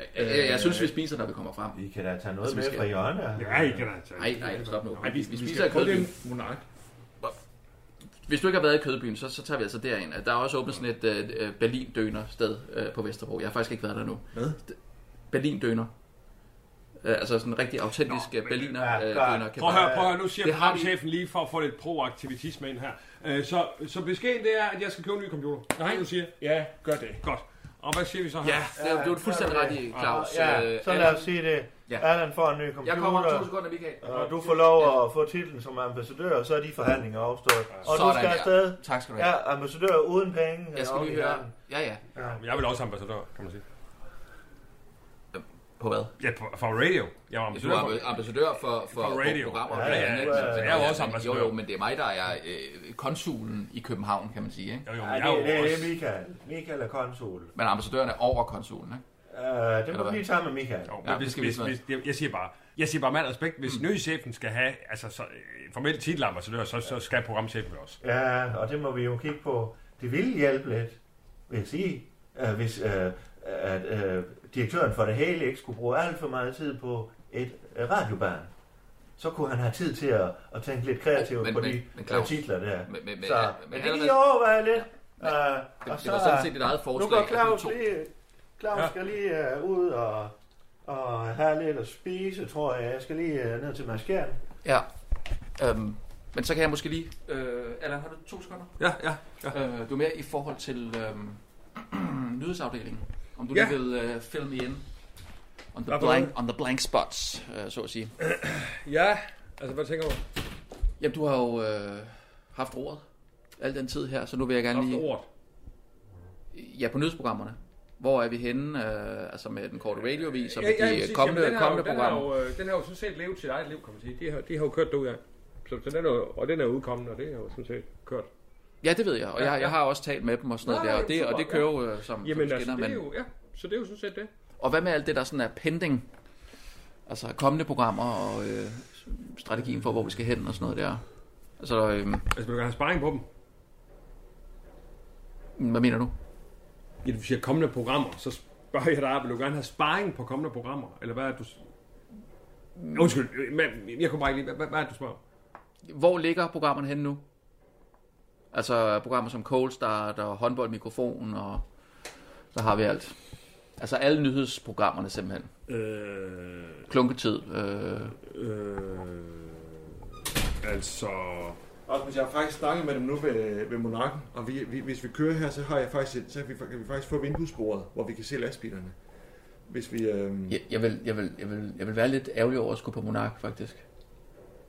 S7: Øh,
S1: Jeg, jeg, jeg synes, vi spiser, når vi kommer frem.
S3: I kan da tage noget
S1: Altså, vi
S3: med
S1: skal-
S3: fra hjørnet.
S6: Ja, I kan da tage.
S1: Nej, nej, stop nu. Vi, vi spiser
S7: skal
S1: af
S7: prøve
S1: kødbyen.
S7: den monark.
S1: Hvis du ikke har været i kødbyen, så, så tager vi altså derind. Der er også åbnet sådan et øh, Berlin-døner sted øh, på Vesterbro. Jeg har faktisk ikke været der nu.
S7: Hvad?
S1: Berlin-døner. Øh, altså sådan en rigtig autentisk øh,
S3: Ja, godt.
S1: Berliner-døner.
S6: Prøv at høre, prøv at høre, nu siger
S1: Det har de-
S6: programchefen lige for at få lidt proaktivitisme ind her. Øh, Så, så beskeden det er, at jeg skal købe en ny computer. Nej, du siger.
S7: Ja, gør det.
S6: Godt. Og hvad siger vi så her?
S1: Ja, det er, du er fuldstændig ret i, Claus.
S3: Ja, så
S1: Øh,
S3: lad os sige det.
S1: Ja.
S3: Allan får en ny
S1: jeg kommer om to
S3: computer.
S1: sekunder, Michael.
S3: Og du får lov at få titlen som ambassadør, og så er de forhandlinger afstået. Og du
S1: Sådan
S3: skal
S1: der.
S3: afsted.
S1: Tak skal du have.
S3: Ja, ambassadør uden penge.
S1: Jeg skal
S3: Og
S1: lige
S3: i
S1: høre.
S3: verden.
S1: Ja, ja.
S6: Men Jeg vil også ambassadør, kan man sige.
S1: På hvad?
S6: Ja, på- for radio. Jeg var
S1: Du er
S6: ambassadør.
S1: ambe- ambassadør for, for,
S6: For radio.
S1: programmer.
S6: Ja, ja,
S1: blandt
S6: ja,
S1: andet.
S6: ja,
S1: Så
S6: ja, jeg er jo også
S1: men-
S6: ambassadør.
S1: Jo, jo, men det er mig, der er øh, konsulen i København, kan man sige. Ikke?
S6: Jo, jo,
S3: Ja,
S6: men jeg er
S3: det, det
S6: jo
S3: er
S6: også...
S3: Michael. Michael er konsul.
S1: Men ambassadøren er over konsulen, ikke?
S3: Uh, det må
S1: Eller
S3: du
S1: hvad?
S3: lige tage med Michael.
S6: Jo, men
S1: Ja, Øh, det
S6: hvis,
S1: skal vi
S6: hvis,
S1: sådan
S6: hvis, jeg, jeg siger bare, jeg siger bare med al respekt, hvis mm. nyhedschefen skal have altså, så, øh, formelt titelambassadør, så, så skal programchefen det også.
S3: Ja, og det må vi jo kigge på. Det ville hjælpe lidt, vil jeg sige, øh, hvis øh, at, øh, direktøren for det hele ikke skulle bruge alt for meget tid på et øh, radiobarn. Så kunne han have tid til at, at tænke lidt kreativt
S1: Men-
S3: på
S1: men-
S3: de øh,
S1: men Claus,
S3: titler der.
S1: men- men- men-
S3: så,
S1: ja,
S3: men,
S1: men
S3: men det
S1: allerede-
S3: lige overveje lidt. øh,
S1: Det,
S3: og
S1: det
S3: så,
S1: var sådan set dit eget
S3: nu
S1: forslag.
S3: går
S1: at de
S3: Claus
S1: to-
S3: lige, Claus skal lige øh, ud og, og have lidt at spise, tror jeg. Jeg skal lige øh, ned til maskeren.
S1: Ja. Øhm, men så kan jeg måske lige... Øh, Allan, har du to sekunder?
S6: Ja, ja.
S1: Øh, du er med i forhold til øhm, nyhedsafdelingen. Om du
S6: Ja.
S1: lige vil øh, filme ind. On the,
S6: Hvad for
S1: blank, on the blank spots, øh, så at sige.
S6: Ja, altså hvad tænker du?
S1: Jamen, du har jo øh, haft ordet al den tid her, så nu vil jeg gerne
S6: Haft
S1: lige...
S6: ordet.
S1: Ja, på nyhedsprogrammerne. Hvor er vi henne? Øh, altså med den korte radiovis og med
S6: ja,
S1: de
S6: præcis.
S1: kommende,
S6: Jamen, den har jo-
S1: kommende programmer.
S6: Den har, jo, øh, den har jo sådan set levet sit eget liv, kan man sige. De har, de har jo kørt det ud af. Så, så den er, jo- og den er udkommet, og det har jo sådan set kørt.
S1: Ja, det ved jeg, og
S8: Ja, ja.
S1: jeg, jeg har også talt med dem og sådan noget
S8: Nå,
S1: der, og det,
S8: super,
S1: og det
S8: ja.
S1: kører jo øh, som,
S8: Jamen
S1: som
S8: altså,
S1: skinner.
S8: det er
S1: Men,
S8: jo, ja, så det er jo sådan set det.
S1: og hvad med alt det, der sådan er pending? Altså kommende programmer og øh, strategien for, hvor vi skal hen og sådan noget der. Altså, øh,
S6: Altså, vil du gerne have sparring på dem?
S1: hvad mener du?
S6: Ja, du siger kommende programmer, så spørger jeg dig, vil du gerne have sparring på kommende programmer? Eller hvad er det, du... s-
S1: Mm.
S6: Undskyld, øh, men jeg kunne bare ikke lige... Hvad, hvad er det, du spørger? om?
S1: Hvor ligger programmerne henne nu? Altså programmer som Cold Start og håndboldmikrofon og der har vi alt. Altså alle nyhedsprogrammerne simpelthen.
S6: Øh,
S1: Klunketid. Øh,
S6: øh, altså...
S7: Rasmus, jeg har faktisk snakket med dem nu ved, ved Monarken, og vi, vi, hvis vi kører her, så, har jeg faktisk, et- så kan, vi, kan vi faktisk få vinduesbordet, hvor vi kan se lastbilerne. Hvis vi... Øhm,
S1: jeg, jeg, vil, jeg, vil, jeg, vil, jeg vil være lidt ærgerlig over at skulle på Monark faktisk.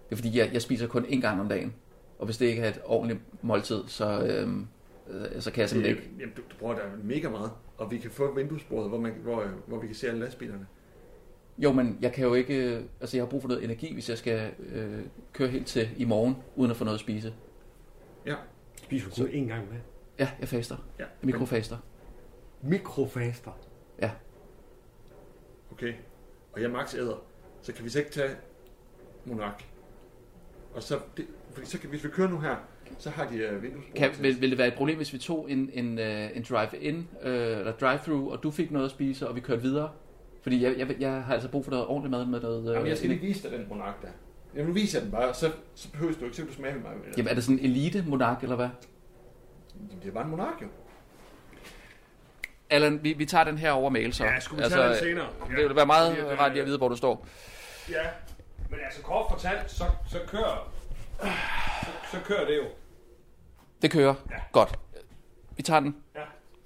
S1: Det er fordi, jeg, jeg spiser kun én gang om dagen. Og hvis det ikke er et ordentligt måltid, så, øh, øh, så kan jeg simpelthen ikke.
S7: Jamen, du, du bruger da mega meget, og vi kan få vinduesbordet, hvor, man, hvor, øh, hvor vi kan se alle lastbilerne.
S1: Jo, men jeg kan jo ikke... øh, Altså jeg har brug for noget energi, hvis jeg skal øh, køre helt til i morgen, uden at få noget at spise.
S6: Spiser du kun én gang med?
S1: Ja, jeg faster.
S7: Ja.
S1: Mikrofaster.
S6: Mikrofaster.
S7: Okay. Og jeg max æder. Så kan vi så ikke tage Monark. Og så, det, fordi så kan, hvis vi kører nu her, så har de øh, vinduesbordet.
S1: Kan,
S7: til os.
S1: vil, vil det være et problem, hvis vi tog en, en, øh, en drive-in øh, eller drive-through, og du fik noget at spise, og vi kørte videre? Fordi jeg, jeg, jeg har altså brug for noget ordentligt mad med noget... Øh,
S7: Jamen, jeg skal lige vise dig den Monark der. Jamen, nu viser jeg den bare, og så, så behøver du ikke, så kan du smage med mig.
S1: Jamen, er det sådan en elite-monark, eller hvad?
S7: Jamen, det er bare en Monark, jo.
S1: Allan, vi, vi tager den her over mail, så.
S6: Ja, skulle vi altså, tage den senere?
S1: Det ville være meget
S6: Fordi at, øh,
S1: rart lige at vide, hvor du står.
S6: Ja, men altså kort fortalt, så, så kører... Så, så kører det jo.
S1: Det kører. Ja. Godt. Vi tager den.
S6: Ja.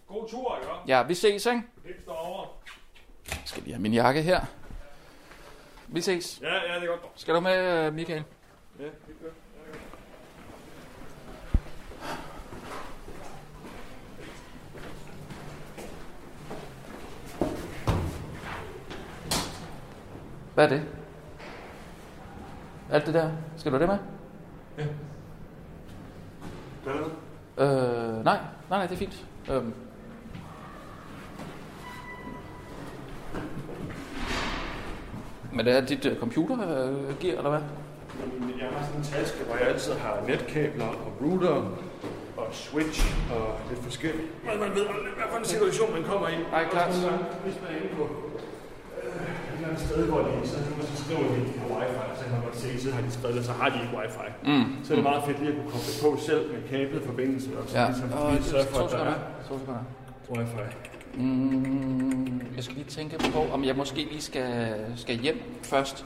S6: God tur, ikke?
S1: Ja, vi ses, ikke?
S6: Hils derovre.
S1: Skal lige have min jakke her. Vi ses.
S6: Ja, ja, det er godt.
S1: Skal du med, øh, Michael? Hvad er det? Alt det der? Skal du have det med? Øh, nej. Nej, nej, det er fint. Øhm. Men det er dit øh, computer øh, gear, eller hvad?
S7: Jamen, Jeg har sådan en taske, hvor jeg altid har netkabler og router og switch og lidt forskelligt. Men man ved aldrig, hvad for en situation man kommer i.
S1: Nej, klart.
S7: Også nogle gange, Hvis man er inde på øh, et eller andet sted, hvor de så, så skriver, de, at de har wifi, så kan man godt se, så har de skrevet, og så har de ikke wifi. Mm. Så er det meget fedt lige at kunne koble på selv med kablet forbindelse, og så
S1: Ja.
S7: ligesom
S1: Åh,
S7: lige sørge for,
S1: to
S7: at der
S1: sekunder.
S7: er
S1: To sekunder.
S7: wifi.
S1: Mm, jeg skal lige tænke på, om jeg måske lige skal, skal hjem først.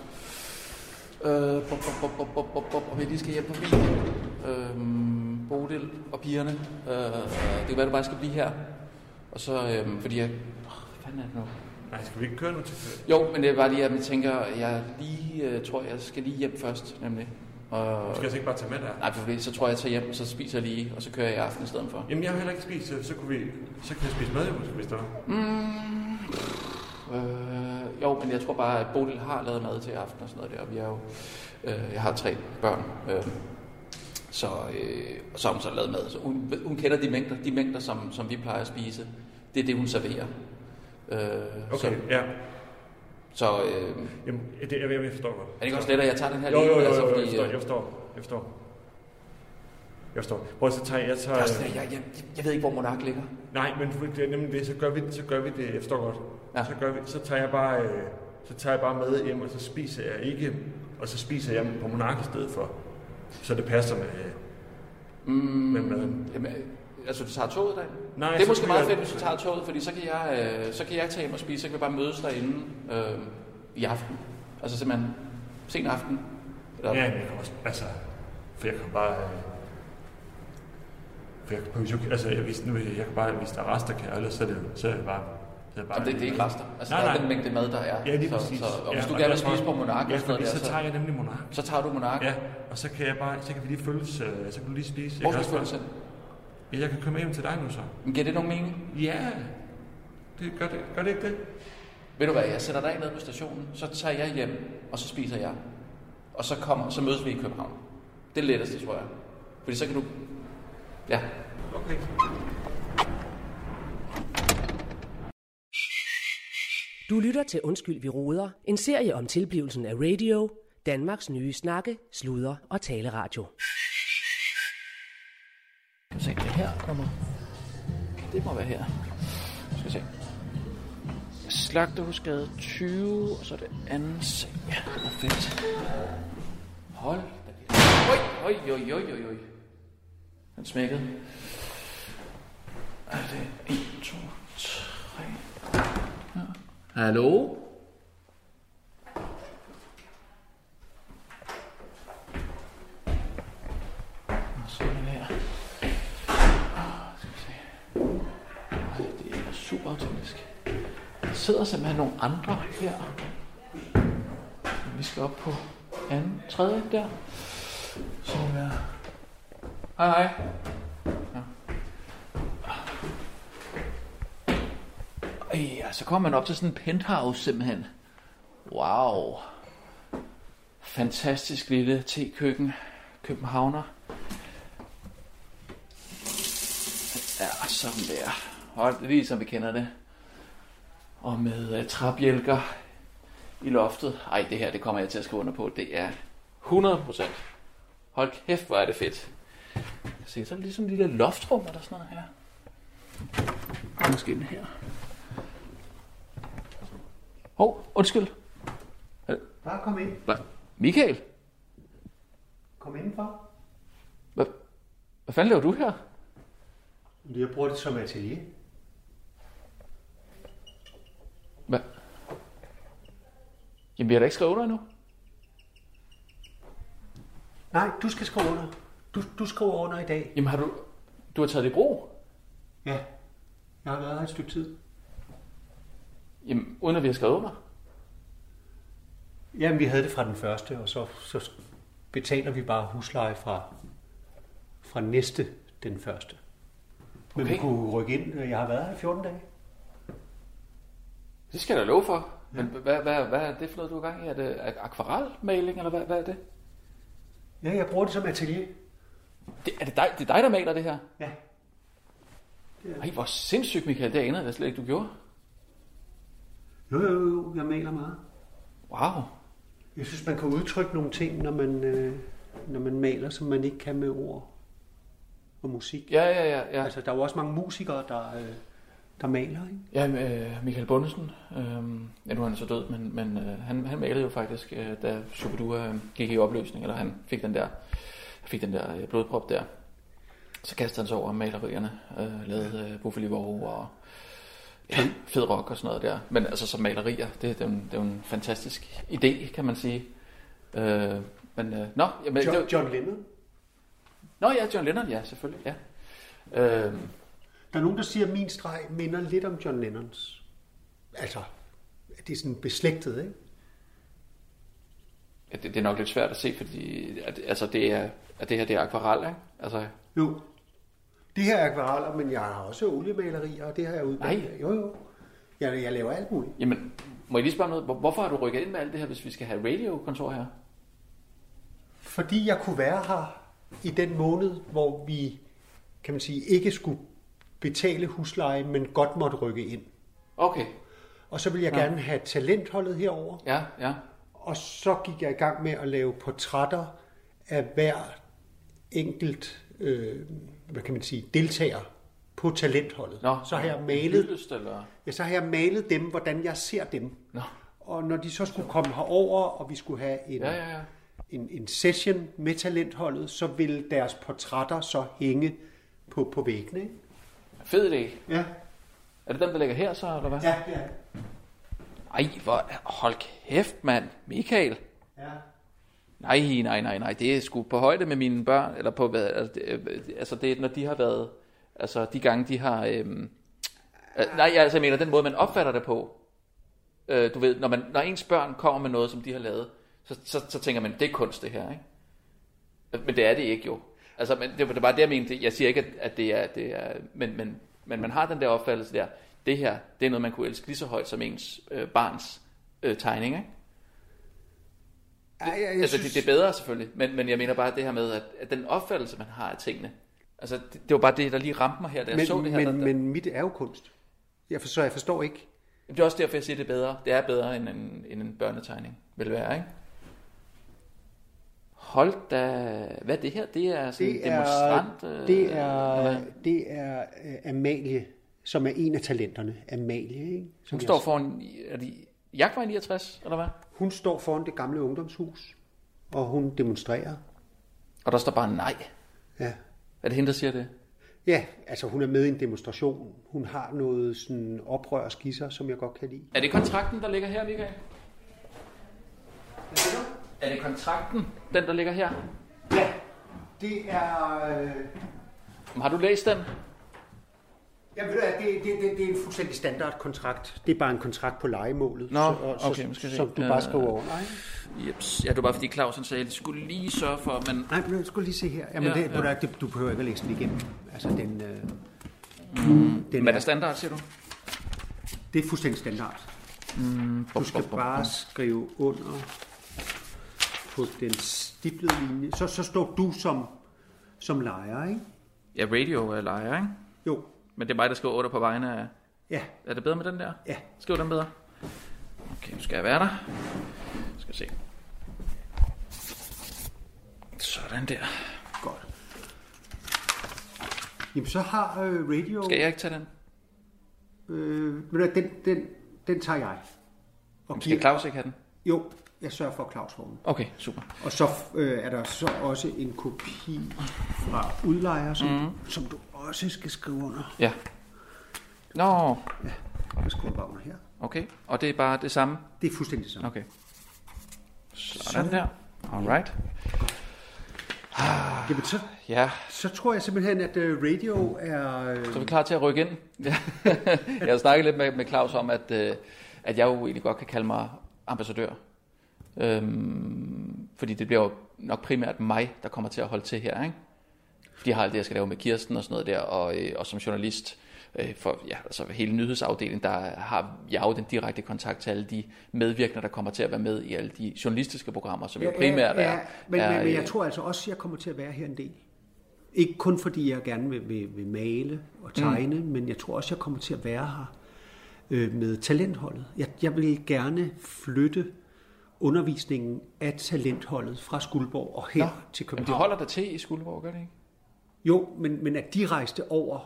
S1: Øh, bop, bop, bop, bop, bop, bop, bop, om jeg lige skal hjem på video. Øh, Bodil og pigerne. Øh, det kan være, du bare skal blive her. Og så, øh, fordi jeg... Oh, hvad fanden er det nu?
S7: Nej, skal vi ikke køre nu til før?
S1: Jo, men det er bare lige, at jeg tænker, at jeg lige øh, tror, jeg skal lige hjem først, nemlig. Og,
S7: Skal jeg så ikke bare tage med der?
S1: nej, for det, så tror jeg, jeg tager hjem, og så spiser jeg lige, og så kører jeg i aften i stedet for.
S7: Jamen, jeg har heller ikke spist, så, så, kunne vi, så kan jeg spise mad, måske, hvis der var.
S1: Mm. Øh, jo, men jeg tror bare, at Bodil har lavet mad til i aften og sådan noget der, og vi er jo, øh, jeg har tre børn, øh, så, øh, og så har hun så lavet mad. Så hun, hun kender de mængder, de mængder som, som vi plejer at spise, det er det, hun serverer. Øh,
S7: Okay,
S1: Så,
S7: ja.
S1: så øh,
S7: Jamen, det, jeg, jeg, jeg forstår godt.
S1: er det ikke også let, at jeg tager den her
S7: Jo, jo, jo, jo,
S1: altså,
S7: jo,
S1: fordi,
S7: jeg forstår,
S1: øh,
S7: jeg forstår, jeg forstår. Jeg forstår. Prøv at så tager jeg, tager...
S1: det er også det, jeg, jeg, jeg ved ikke, hvor Monark ligger.
S7: Nej, men det er nemlig det, så gør vi det, så gør vi det, jeg forstår godt.
S1: Ja.
S7: Ja. Så, gør vi, så tager jeg bare, øh, så tager jeg bare med hjem, og så spiser jeg ikke, og så spiser jeg på Monark i stedet for. Så det passer med, mm. med maden.
S1: Jamen, øh, altså, du tager toget derinde?
S7: Nej,
S1: det er
S7: så
S1: måske
S7: bliver jeg-
S1: meget fedt, hvis du tager toget, fordi så kan jeg, øh, så kan jeg tage hjem og spise, så kan vi bare mødes derinde øh, i aften. Altså simpelthen sen aften. Eller,
S7: Ja, men jeg kan også, altså, for jeg kan bare, øh, for jeg kan, hvis jeg- altså, jeg, hvis, nu, jeg kan bare, hvis der er rester, kan jeg, ellers så er det, så er det bare, så er det bare
S1: Jamen, det, det er ikke rester. Altså,
S7: Nej,
S1: der er
S7: nej.
S1: den mængde mad, der er.
S7: Ja, lige
S1: så,
S7: præcis.
S1: så, og hvis
S7: ja,
S1: du gerne vil
S7: derfor-
S1: spise på Monark
S7: ja,
S1: og sådan noget
S7: fordi
S1: der,
S7: så tager jeg nemlig Monark.
S1: så tager du Monark.
S7: Ja, og så kan jeg bare, så kan vi lige følges, øh, så kan du lige spise. Jeg
S1: Hvor
S7: kan
S1: skal
S7: også
S1: du følge
S7: bare-
S1: selv?
S7: Ja, jeg kan komme hjem til dig nu så.
S1: Men Giver det nogen mening?
S7: Ja, det gør det, gør det ikke det?
S1: Ved du hvad, jeg sætter dig ned på stationen, så tager jeg hjem, og så spiser jeg. Og så kommer, så mødes vi i København. Det er letteste, tror jeg. Fordi så kan du Ja.
S9: Du lytter til Undskyld, vi roder, en serie om tilblivelsen af radio, Danmarks nye snakke, sludre og taleradio.
S1: Skal vi se, det her kommer. Det må være her. Skal vi se. Slagterhusgade 20, og så er det anden seng. Ja, perfekt. Hold da kæft. Oj, oj, oj, oj, oj, oj. Den smækkede. Er det 1, 2, 3. Ja. Hallo? Og så er den her. Ah, Skal vi se. Ej, det er super autentisk. Der sidder simpelthen nogle andre her. Vi skal op på anden, tredje der. Så må være... Hej, hej. Ja. Ej, ja, så kommer man op til sådan en penthouse simpelthen. Wow. Fantastisk lille tekøkken. Københavner. Ja, sådan der. Hold lige som vi kender det. Og med uh, træbjælker i loftet. Ej, det her, det kommer jeg til at skrive under på. Det er 100%. Hold kæft, hvor er det fedt. Se, så er det ligesom et lille loftrum eller sådan noget her. Og Måske den her. Hov, oh, undskyld.
S10: Bare kom ind.
S1: Hvad? Michael?
S10: Kom indenfor.
S1: Hvad, hvad fanden laver du her?
S10: Jeg bruger det som atelier.
S1: Hvad? Jamen, vi har da ikke skrevet under endnu.
S10: Nej, du skal skrive under. Du, du skriver under i dag.
S1: Jamen, har du... Du har taget det i brug?
S10: Ja. Jeg har været her et stykke tid.
S1: Jamen, uden at vi har skrevet under.
S10: Jamen, vi havde det fra den første, og så, så betaler vi bare husleje fra, fra næste den første. Men okay. vi
S1: Okay.
S10: kunne rykke ind. Jeg har været her i 14 dage.
S1: Det skal jeg da love for. Men hvad, hvad, hvad er det for noget, du har gang i? Er det er det akvarelmaling, eller hvad, hvad er det?
S10: Ja, jeg bruger det som atelier.
S1: det? Er det dig, det er dig, der maler det her?
S10: Ja.
S1: Ej, hvor sindssygt, Michael. Det anede jeg slet ikke, du gjorde.
S10: Jo, jo, jo, jeg maler meget.
S1: Wow.
S10: Jeg synes, man kan udtrykke nogle ting, når man, øh, når man maler, som man ikke kan med ord og musik.
S1: Ja, ja, ja. ja.
S10: Altså, der er jo også mange musikere, der, øh, der maler, ikke?
S1: Ja, øh, Michael Bundesen, øh, ja, nu er han så død, men, men øh, han, han malede jo faktisk, øh, da Superdua øh, gik i opløsning, eller han fik den der, fik den der øh, blodprop der. Så kastede han sig over malerierne, øh, lavede øh, Buffalo Vore og ja, fed rock og sådan noget der. Men altså som malerier, det, det, er, jo en, det er jo en fantastisk idé, kan man sige. Øh, men, øh, nå, jamen, det,
S10: John,
S1: var-
S10: John Lennon.
S1: nå ja, John Lennon, ja, selvfølgelig, ja. Øh,
S10: Øhm, Der er nogen, der siger, at min streg minder lidt om John Lennons. Altså, at det er sådan beslægtet, ikke?
S1: ja, det, det er nok lidt svært at se, fordi at, altså, det er, at det her det er akvarel, ikke? Altså,
S10: Jo. Det her er akvareller, men jeg har også oliemalerier, og det har jeg uddannet.
S1: Nej.
S10: Jo, jo. Jeg, jeg laver alt muligt.
S1: Jamen, må jeg lige spørge om noget? Hvor- Hvorfor har du rykket ind med alt det her, hvis vi skal have radiokontor her?
S10: Fordi jeg kunne være her i den måned, hvor vi, kan man sige, ikke skulle betale husleje, men godt måtte rykke ind.
S1: Okay,
S10: Og så ville jeg ja. gerne have talentholdet herover,
S1: ja, ja.
S10: og så gik jeg i gang med at lave portrætter af hver enkelt, øh, hvad kan man sige, deltager på talentholdet. så har jeg malet
S1: Hyldest, eller?
S10: Ja, så har jeg malet dem, hvordan jeg ser dem.
S1: Nå.
S10: Og når de så skulle komme herover, og vi skulle have en,
S1: Ja, ja, ja.
S10: en, en session med talentholdet, så ville deres portrætter så hænge på, på væggene. ikke?
S1: Fed idé.
S10: Ja,
S1: Er det den, der ligger her så, eller hvad?
S10: ja, ja.
S1: Ej, hvor... Hold kæft, mand. Michael.
S10: ja.
S1: Nej, nej, nej, nej. Det er sgu på højde med mine børn. Eller på hvad? Altså, det, øh, altså det, er, når de har været... Altså, de gange, de har... Øhm, øh, nej, altså, jeg mener den måde, man opfatter det på. Øh, du ved, når, man, når ens børn kommer med noget, som de har lavet, så, så, så tænker man, det er kunst, det her, ikke? Øh, Men det er det ikke jo. Altså, men det, var- det var bare det, jeg mente. Jeg siger ikke, at, at det er... Det er men, men, men man har den der opfattelse der. Det her, det er noget, man kunne elske lige så højt som ens øh, barns øh, tegning, ikke?
S10: Ej, jeg, jeg
S1: Jeg altså, synes... det, det er bedre selvfølgelig, men, men jeg mener bare det her med, at, at den opfattelse, man har af tingene, Altså, det, det var bare det, der lige ramte mig her, da jeg
S10: men,
S1: så det her.
S10: men,
S1: der, der.
S10: men mit er jo kunst. Jeg forstår, jeg forstår ikke.
S1: Det er også derfor, jeg siger, det er bedre. Det er bedre end en, end en børnetegning, vil det være, ikke? Hold da... Hvad er det her? Det er sådan
S10: Det er,
S1: en demonstrant... øh,
S10: det
S1: eller
S10: er,
S1: hvad?
S10: det er øh, Amalie, som er en af talenterne. Amalie, ikke? Som
S1: Hun
S10: jeg-
S1: står foran... Er det Jagtvej 69, eller hvad?
S10: Hun står foran det gamle ungdomshus, og hun demonstrerer.
S1: Og der står bare nej.
S10: Ja.
S1: Er det hende, der siger det?
S10: Ja, altså hun er med i en demonstration. Hun har noget sådan oprør og skisser, som jeg godt kan lide.
S1: Er det kontrakten, der ligger her, Michael? Er det kontrakten, den der ligger her?
S10: Det er... Øh...
S1: Har du læst den?
S10: Jeg ved du hvad, det, det, det, det er en fuldstændig standardkontrakt. Det er bare en kontrakt på legemålet,
S1: Nå,
S10: så, og,
S1: okay, nu
S10: så,
S1: skal jeg se.
S10: som du bare
S1: Øh,
S10: skriver over. Nej,
S1: Jeps. Ja, det var bare fordi Clausen sagde, at jeg skulle lige sørge for, men...
S10: Nej, men jeg skulle lige se her. Jamen,
S1: Ja,
S10: ja, det,
S1: ja.
S10: ja. Det, du behøver ikke at læse den igennem. Altså, den, øh,
S1: Den
S10: den
S1: Mm. men er
S10: er,
S1: der standard, siger du?
S10: det er fuldstændig standard.
S1: Mm,
S10: Du skal bare skrive under på den stiplede linje. Så, så står du som, som lejer, ikke?
S1: Ja, radio er lejer, ikke?
S10: Jo.
S1: Men det er mig, der skriver otter på vegne af...
S10: Ja.
S1: Er det bedre med den der?
S10: Ja.
S1: Skriv den bedre. Okay, nu skal jeg være der. Skal se. Sådan der.
S10: Godt. Jamen, så har øh, radio...
S1: Skal jeg ikke tage den?
S10: Øh, ved du hvad, den, den, den tager jeg. Og
S1: Skal Claus ikke have den?
S10: Jo, jeg sørger for at Claus får den.
S1: Okay, super.
S10: Og så øh, er der så også en kopi fra udlejer, som, mm. som du også skal skrive under.
S1: Mhm. Ja. Nå,
S10: Jeg skriver bare under her.
S1: okay. Og det er bare det samme?
S10: Det er fuldstændig det samme.
S1: Okay. Sådan der. Alright.
S10: Jamen, så,
S1: Ja,
S10: så tror jeg simpelthen, at øh, radio er... Øh,
S1: Så er vi klar til at rykke ind. Ja. jeg har snakket lidt med, med Claus om, at, øh, at jeg jo egentlig godt kan kalde mig ambassadør. Øhm, fordi det bliver jo nok primært mig, der kommer til at holde til her. Ikke? Fordi jeg har alt det, jeg skal lave med Kirsten og sådan noget der, og, øh, og som journalist øh, for ja, altså hele nyhedsafdelingen, der har jeg jo den direkte kontakt til alle de medvirkende, der kommer til at være med i alle de journalistiske programmer, som jo primært
S10: ja,
S1: er...
S10: ja, men,
S1: er,
S10: men, men jeg
S1: øh,
S10: tror altså også, at jeg kommer til at være her en del. Ikke kun fordi jeg gerne vil, vil, vil male og tegne, mm. men jeg tror også, at jeg kommer til at være her øh, med talentholdet. Jeg, jeg vil gerne flytte undervisningen af talentholdet fra Skuldborg og her
S1: Nå,
S10: til
S1: Jamen, de
S10: København.
S1: holder dig til i Skuldborg, gør det ikke?
S10: Jo, men, men at de rejste over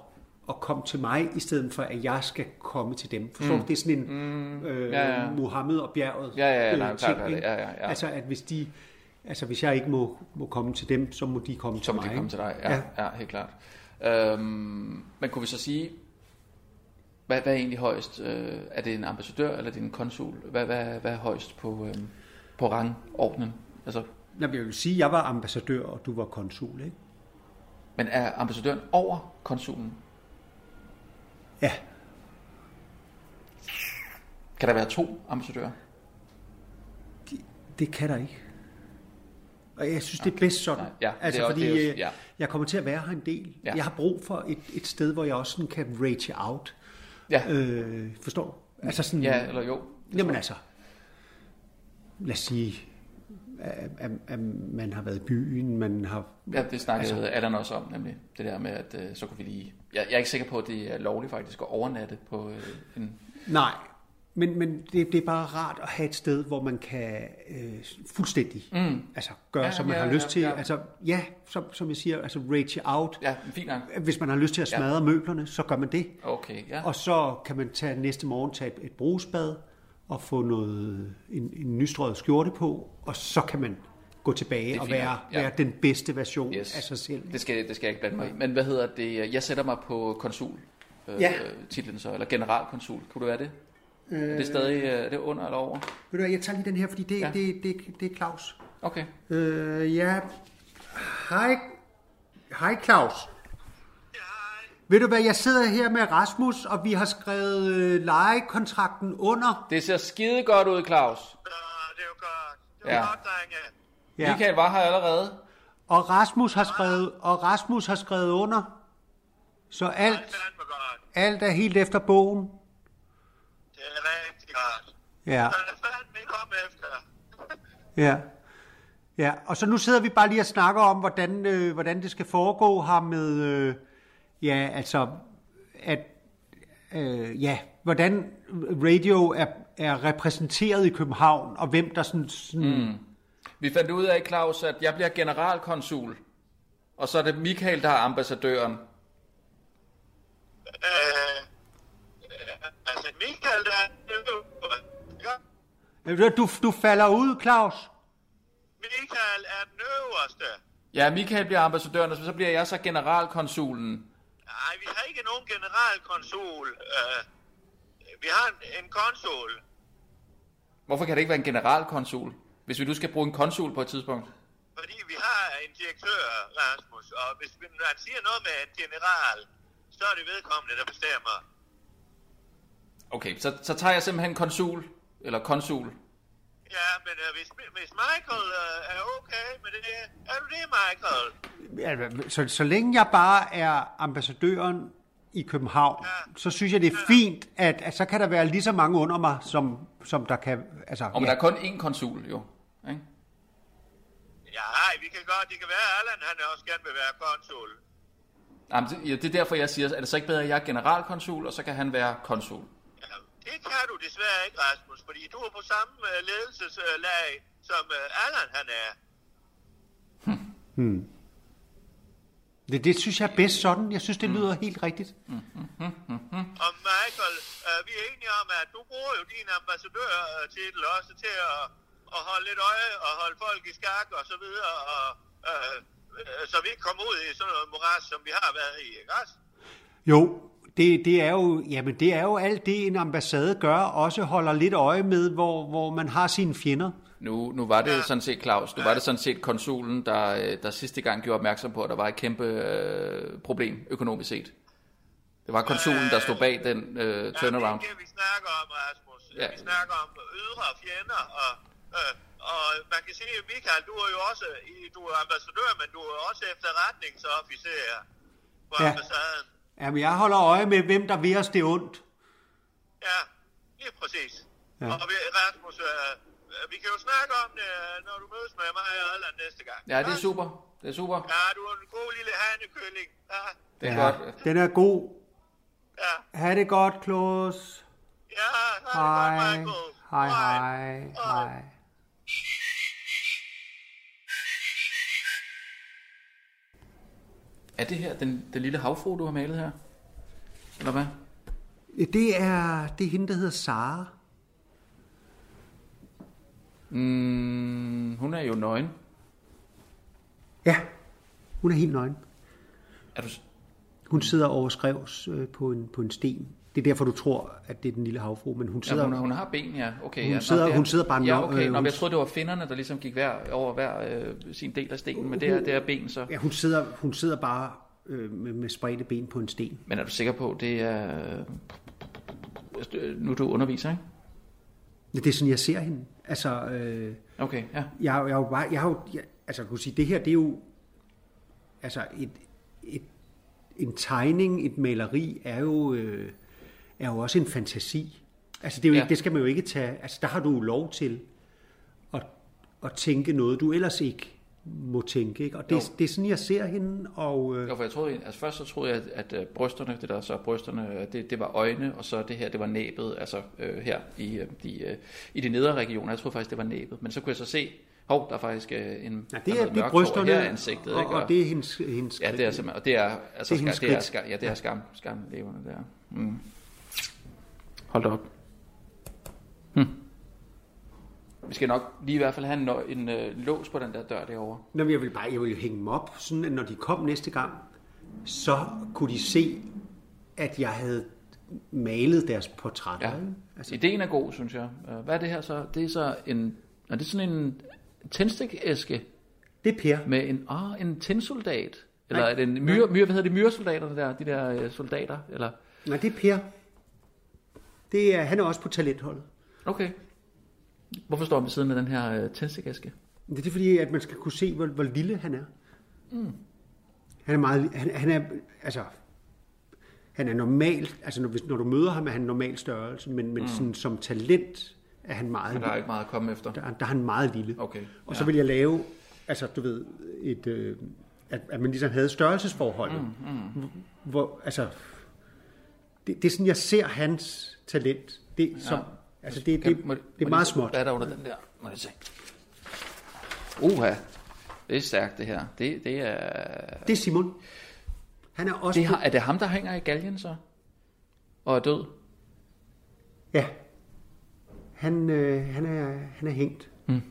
S10: og kom til mig, i stedet for at jeg skal komme til dem. Forstår mm. du? Det er sådan en mm. øh,
S1: Ja, ja.
S10: Mohammed og bjerget
S1: Ja, ja, ja, nej,
S10: øh,
S1: klart, klart,
S10: ikke?
S1: ja, ja, ja.
S10: Altså, at hvis de... Altså, hvis jeg ikke må, må komme til dem, så må de komme
S1: Så
S10: til
S1: må
S10: mig.
S1: de komme
S10: ikke?
S1: til dig, ja, ja.
S10: Ja.
S1: ja helt klart. Øhm, men kunne vi så sige, hvad, hvad er egentlig højst? Øh, er det en ambassadør, eller er det en konsul? Hvad, hvad, hvad er højst på, øhm, på rangordnen? Altså,
S10: Nå, men jeg vil sige, at jeg var ambassadør, og du var konsul, ikke?
S1: men er ambassadøren over konsulen?
S10: Ja.
S1: Kan der være to ambassadører?
S10: Det kan der ikke. Og jeg synes, det er bedst sådan.
S1: ja, det
S10: altså,
S1: er også-
S10: fordi
S1: det er også-
S10: øh,
S1: ja.
S10: jeg kommer til at være her en del.
S1: Ja.
S10: Jeg har brug for et, et sted, hvor jeg også sådan kan rage out.
S1: Ja,
S10: Øh, forstår du? Altså sådan,
S1: ja eller jo.
S10: Jamen altså, lad os sige, at, at, at man har været i byen, man har...
S1: Ja, det snakkede altså, Allan også om, nemlig det der med, at øh, så kunne vi lige... Jeg, jeg er ikke sikker på, at det er lovligt faktisk at overnatte på øh, en...
S10: Nej, men, men det, det er bare rart at have et sted, hvor man kan øh, fuldstændig mm. altså, gøre,
S1: Ja,
S10: ja, som man
S1: ja,
S10: ja, har
S1: ja,
S10: lyst til.
S1: ja.
S10: Altså, ja, som, som jeg siger, altså rage out.
S1: Ja, fint nok.
S10: Hvis man har lyst til at smadre ja. møblerne, så gør man det.
S1: Okay, ja.
S10: Og så kan man tage næste morgen tage et, et brusbad og få noget, en, en nystrøget skjorte på, og så kan man gå tilbage
S1: er
S10: og
S1: fint
S10: være,
S1: nok, ja.
S10: ja. være den bedste version
S1: Yes.
S10: yes. af sig selv.
S1: Det skal, det skal jeg ikke blande mig i. Men hvad hedder det? Jeg sætter mig på konsul. Øh, ja.
S10: Ja.
S1: titlen så, eller generalkonsul. Kunne det være det? Øh... Er det stadig øh, er det under eller over?
S10: Ved du hvad, jeg tager lige den her, fordi det,
S1: Ja.
S10: ja. det, det, det er Claus.
S1: Okay.
S10: Øh, ja. Hej. Hej Claus. Ved du hvad, jeg sidder her med Rasmus, og vi har skrevet øh, lejekontrakten under.
S1: Det ser skide godt ud, Claus. det er jo godt. Det er ja. godt, ja. Michael var her allerede.
S10: Og Rasmus har skrevet, og Rasmus har skrevet under. Så alt, alt er helt efter bogen.
S2: Det er rigtig godt.
S10: Ja,
S2: er fandme kom efter.
S10: ja. Ja, og så nu sidder vi bare lige og snakker om, hvordan, øh, hvordan det skal foregå her med, øh, ja, altså, at, øh, ja, hvordan radio er, er repræsenteret i København, og hvem der sådan, sådan mm.
S1: Vi fandt ud af, Claus, at jeg bliver generalkonsul, og så er det Michael, der er ambassadøren.
S11: Altså, Michael, der er
S10: Øh, du, du falder ud, Claus.
S11: Michael er den øverste.
S1: Ja, Michael bliver ambassadøren, og så bliver jeg så generalkonsulen.
S11: Nej, vi har ikke nogen generalkonsul. Øh, vi har en, en konsul.
S1: Hvorfor kan det ikke være en generalkonsul, hvis vi nu skal bruge en konsul på et tidspunkt?
S11: Fordi vi har en direktør, Rasmus, og hvis man siger noget med en general, så er det vedkommende, der bestemmer.
S1: Okay, så, så tager jeg simpelthen konsul, eller konsul.
S11: Ja, men øh, hvis, hvis Michael øh, er okay med det, er du det, Michael?
S10: Altså, Så, så længe jeg bare er ambassadøren i København, ja. så synes jeg, det er fint, at, at så kan der være lige så mange under mig, som, som der kan... Altså,
S1: Og men der er kun én konsul, jo. Ikke?
S11: Ja, ej, vi kan godt. Det kan være, at Allan han også gerne vil være konsul.
S1: Jamen, det, ja, det er derfor, jeg siger, er det så ikke bedre, at jeg er generalkonsul, og så kan han være konsul?
S11: Det kan du desværre ikke, Rasmus, fordi du er på samme øh, ledelseslag, som øh, Allan han er.
S1: Hm.
S10: Hmm. Det, det synes jeg er bedst sådan. Jeg synes, det
S1: Hmm.
S10: lyder helt rigtigt.
S1: Hm,
S11: Og Michael, øh, vi er enige om, at du bruger jo din ambassadørtitel også til at, at holde lidt øje og holde folk i skak og så videre, og, øh, øh, så vi ikke kommer ud i sådan noget moras, som vi har været i, ikke også?
S10: Jo, det, det, er jo, jamen, det er jo alt det, en ambassade gør, også holder lidt øje med, hvor, hvor man har sine fjender.
S1: Nu, nu var det ja. sådan set Claus, nu var det sådan set konsulen, der, øh, der sidste gang gjorde opmærksom på, at der var et kæmpe øh, problem økonomisk set. Det var konsulen, der stod bag den øh, turnaround.
S11: Det er det, vi snakker om, Rasmus. Ja.
S1: Ja.
S11: Vi snakker om ydre fjender, og, øh, og man kan sige, Michael, du er jo også i- du er ambassadør, men du er også efterretningsofficer på ja.
S10: Ja.
S11: ambassaden.
S10: Jamen, jeg holder øje med, hvem der vil os det ondt.
S11: Ja, lige præcis. Ja.
S10: Ja.
S11: Og vi, Rasmus, øh, øh, vi kan jo snakke om det, øh, når du mødes med mig og Allan næste gang.
S1: Ja, det er super. Det er super.
S11: Ja, du er en god lille hanekylling. Ja,
S1: Det er
S10: ja,
S1: godt.
S10: Den er god.
S11: Ja.
S10: Ha' det godt, Klaus.
S11: ja
S10: Hej. Hej, hej, hej.
S1: Er det her den, den lille havfru, du har malet her? Eller hvad?
S10: Det er, det er hende, der hedder Sara.
S1: Mm, hun er jo nøgen.
S10: Ja, hun er helt nøgen.
S1: Er du...
S10: Hun sidder overskrevs øh, på en, på en sten. Det er derfor, du tror, at det er den lille havfru, men hun sidder...
S1: Ja, hun, hun har ben, ja. Okay,
S10: Hun
S1: ja. Nå,
S10: sidder-
S1: det er-
S10: hun sidder bare
S1: Ja,
S10: nø-
S1: okay.
S10: øh,
S1: Nå, men
S10: hun-
S1: jeg troede, det var finderne, der ligesom gik hver, over hver øh, sin del af stenen, men det er, det er ben, så.
S10: Ja, hun sidder, hun sidder bare øh, med, med spredte ben på en sten.
S1: Men er du sikker på, det er... øh, Nu er du underviser, ikke?
S10: Ja, Det er sådan, jeg ser hende. Altså, øh,
S1: Okay, ja.
S10: jeg, jeg, er jo bare, jeg har jo, jeg, altså, jeg kunne sige, det her, det er jo, altså, et, et, en tegning, et maleri, er jo, øh, er jo også en fantasi. Altså, det, er jo
S1: Ja.
S10: ja. ikke, det skal man jo ikke tage, altså, der har du jo lov til at, at tænke noget, du ellers ikke må tænke, ikke? Og det,
S1: Jo.
S10: det er sådan, jeg ser hende, og... Øh,
S1: Jo, for jeg troede, altså først så troede jeg, at, at øh, brysterne, det der så er brysterne, øh, det, det var øjne, og så det her, det var næbet, altså øh, her i, øh, de, øh, i de nedre regioner. Jeg troede faktisk, det var næbet, men så kunne jeg så se, hov, der er faktisk øh, en
S10: Ja, det
S1: der
S10: er,
S1: noget
S10: det er
S1: mørkt hår.
S10: brysterne,
S1: her er ansigtet,
S10: og,
S1: ikke?
S10: og det er hendes, hendes
S1: Ja, det er simpelthen, og det er, altså,
S10: Det er
S1: det er,
S10: hendes
S1: skam, det er,
S10: skridt.
S1: skam, ja, det er skam, skam levende der. Mm. Hold da op. Hm. Vi skal nok lige i hvert fald have en, nø- en øh, lås på den der dør derovre.
S10: Nå, men jeg vil bare jeg vil jo hænge dem op, sådan at når de kom næste gang, så kunne de se, at jeg havde malet deres portrætter. Ja.
S1: Altså. Ideen er god, synes jeg. Øh, Hvad er det her så? Det er så en... Er det sådan en tændstikæske?
S10: Det er Per.
S1: Med en, ah, en tændsoldat? Eller
S10: Nej.
S1: er det en myre, myre, hvad hedder det, myresoldaterne der, de der øh, soldater? Eller?
S10: Nej, det er Per. Det er, han er også på talentholdet.
S1: Okay. Hvorfor står han ved siden af den her øh, tændstikæske?
S10: Men Det er fordi, at man skal kunne se, hvor, hvor lille han er.
S1: Mm.
S10: Han er meget, han, han er, altså, han er normalt, altså når, hvis, når du møder ham, er han normal størrelse, men, men
S1: Mm.
S10: mm. sådan, som talent er han meget
S1: Men der er
S10: lille.
S1: ikke meget at komme efter.
S10: Der, der er han meget lille.
S1: Okay.
S10: Og så vil jeg lave altså du ved, et, øh, at, at man ligesom havde størrelsesforholdet.
S12: Mm,
S10: mm. Hvor, altså, det, det er sådan, jeg ser hans talent. Det, som, ja. altså, det, det, det, det er meget småt.
S1: Hvad er der under den der? Må jeg se. Uha, det er stærkt det her. Det, det er...
S10: Det er Simon. Han er også...
S1: Det har, er det ham, der hænger i galgen så? Og er død?
S10: Ja. Han, øh, han, er, han er hængt.
S1: Mm.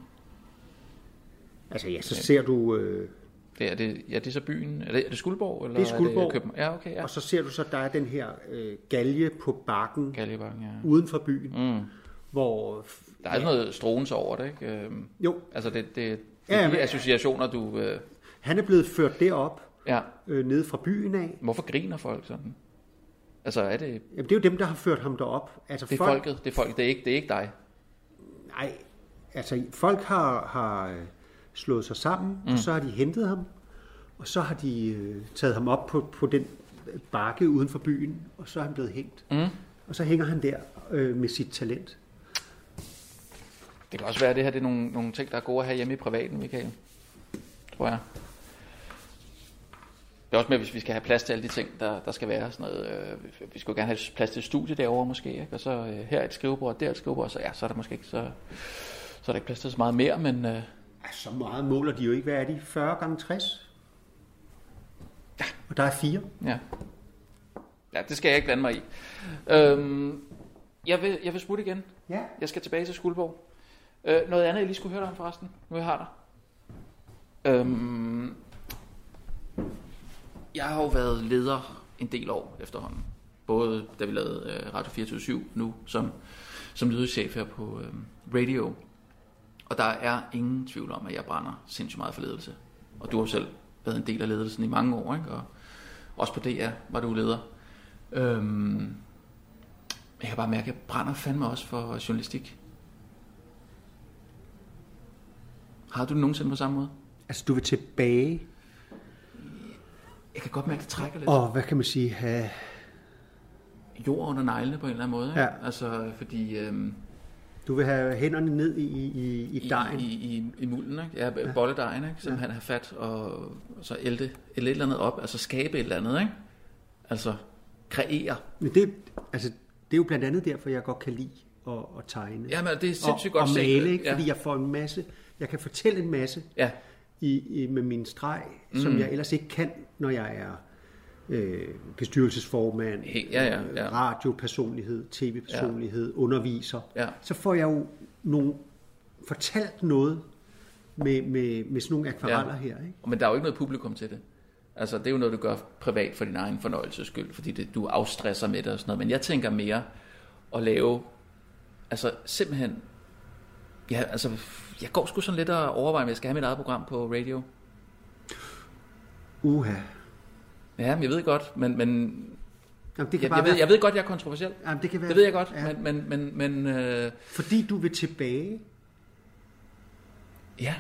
S10: Altså ja, så ser du... Øh,
S1: Det er, det, ja, det er så byen. Er det, er det Skuldborg? Eller
S10: det er Skuldborg.
S1: Er det København? ja, okay, ja.
S10: Og så ser du så, der er den her øh, galge på bakken.
S1: Galgebakken, ja.
S10: Uden for byen.
S1: Mm.
S10: Hvor...
S1: Der er ja. noget strons over det, ikke? Øhm,
S10: Jo.
S1: Altså, det, det, det
S10: Ja,
S1: er
S10: men-
S1: de associationer, du... Øh,
S10: Han er blevet ført derop.
S1: Ja.
S10: Øh, nede fra byen af.
S1: hvorfor griner folk sådan? Altså, er det...
S10: Jamen, det er jo dem, der har ført ham derop. Altså,
S1: Det er
S10: folk,
S1: folket, det er, folk, det er, ikke, det er ikke dig.
S10: Nej, altså folk har, har øh, slået sig sammen, mm.
S1: Mm.
S10: og så har de hentet ham, og så har de øh, taget ham op på, på den øh, bakke uden for byen, og så er han blevet hængt.
S1: Mm.
S10: Og så hænger han der øh, med sit talent.
S1: Det kan også være, at det her det er nogle, nogle ting, der er gode at have hjemme i privaten, Michael. Tror jeg. Det er også med, hvis vi skal have plads til alle de ting, der, der skal være. Sådan noget. øh, vi- Vi skulle gerne have plads til et studie derovre måske, ikke? og så øh, her et skrivebord, og der et skrivebord, så, ja, så er der måske ikke så, så er der ikke plads til så meget mere, men øh,
S10: Ej, så meget måler de jo ikke. Hvad er de? 40 gange 60? Ja. Og der er fire.
S1: Ja. ja, det skal jeg ikke blande mig i. Øhm, jeg, vil, jeg vil smutte igen.
S10: Ja.
S1: Jeg skal tilbage til Skuldborg. Øh, noget andet, jeg lige skulle høre dig om forresten, nu jeg har dig. Øhm, jeg har jo været leder en del år efterhånden. Både da vi lavede øh, Radio 24 nu som, som lydchef her på øh, radio. Og der er ingen tvivl om, at jeg brænder sindssygt meget for ledelse. Og du har jo selv været en del af ledelsen i mange år, ikke? Og også på DR var du leder. Øhm, jeg kan bare mærke, at jeg brænder fandme også for journalistik. Har du det nogensinde på samme måde?
S10: Altså, du vil tilbage
S1: Jeg kan godt mærke, at det trækker lidt.
S10: og, hvad kan man sige, have...
S1: Jord under neglene på en eller anden måde. Ikke?
S10: Ja.
S1: Altså, fordi... Øhm,
S10: Du vil have hænderne ned i, i, i, i dejen.
S1: I, i, i mulden, ikke? Ja, ja. bolledejen, ikke? Som ja. han har fat og, og så ælte et eller andet op. Altså skabe et eller andet, ikke? Altså kreere.
S10: Men det, altså, det er jo blandt andet derfor, jeg godt kan lide at, at tegne.
S1: Jamen, det er sindssygt
S10: og,
S1: godt
S10: Og
S1: set,
S10: male, ikke?
S1: ja.
S10: fordi jeg får en masse, jeg kan fortælle en masse
S1: ja.
S10: i, i, med min streg, mm. som
S1: Mm.
S10: jeg ellers ikke kan, når jeg er øh, bestyrelsesformand,
S1: Helt- ja, ja, ja.
S10: øh, radiopersonlighed, tv-personlighed, ja. underviser. Ja. Så får jeg jo nogle, fortalt noget med, med, med sådan nogle akvareller ja. her. Ikke?
S1: Men der er jo ikke noget publikum til det. Altså, det er jo noget, du gør privat for din egen fornøjelses skyld, fordi det, du afstresser med det og sådan noget. Men jeg tænker mere at lave, altså simpelthen, ja, altså, jeg går sgu sådan lidt og overvejer, om jeg skal have mit eget program på radio.
S10: Uha.
S1: Ja, men jeg ved godt, men, men
S10: Jamen, det kan
S1: jeg,
S10: bare
S1: jeg, ved,
S10: være-
S1: jeg ved godt, jeg er kontroversiel.
S10: Jamen, det kan være-
S1: det ved jeg godt,
S10: ja.
S1: ja. men, men, men, men øh,
S10: Fordi du vil tilbage.
S1: Ja,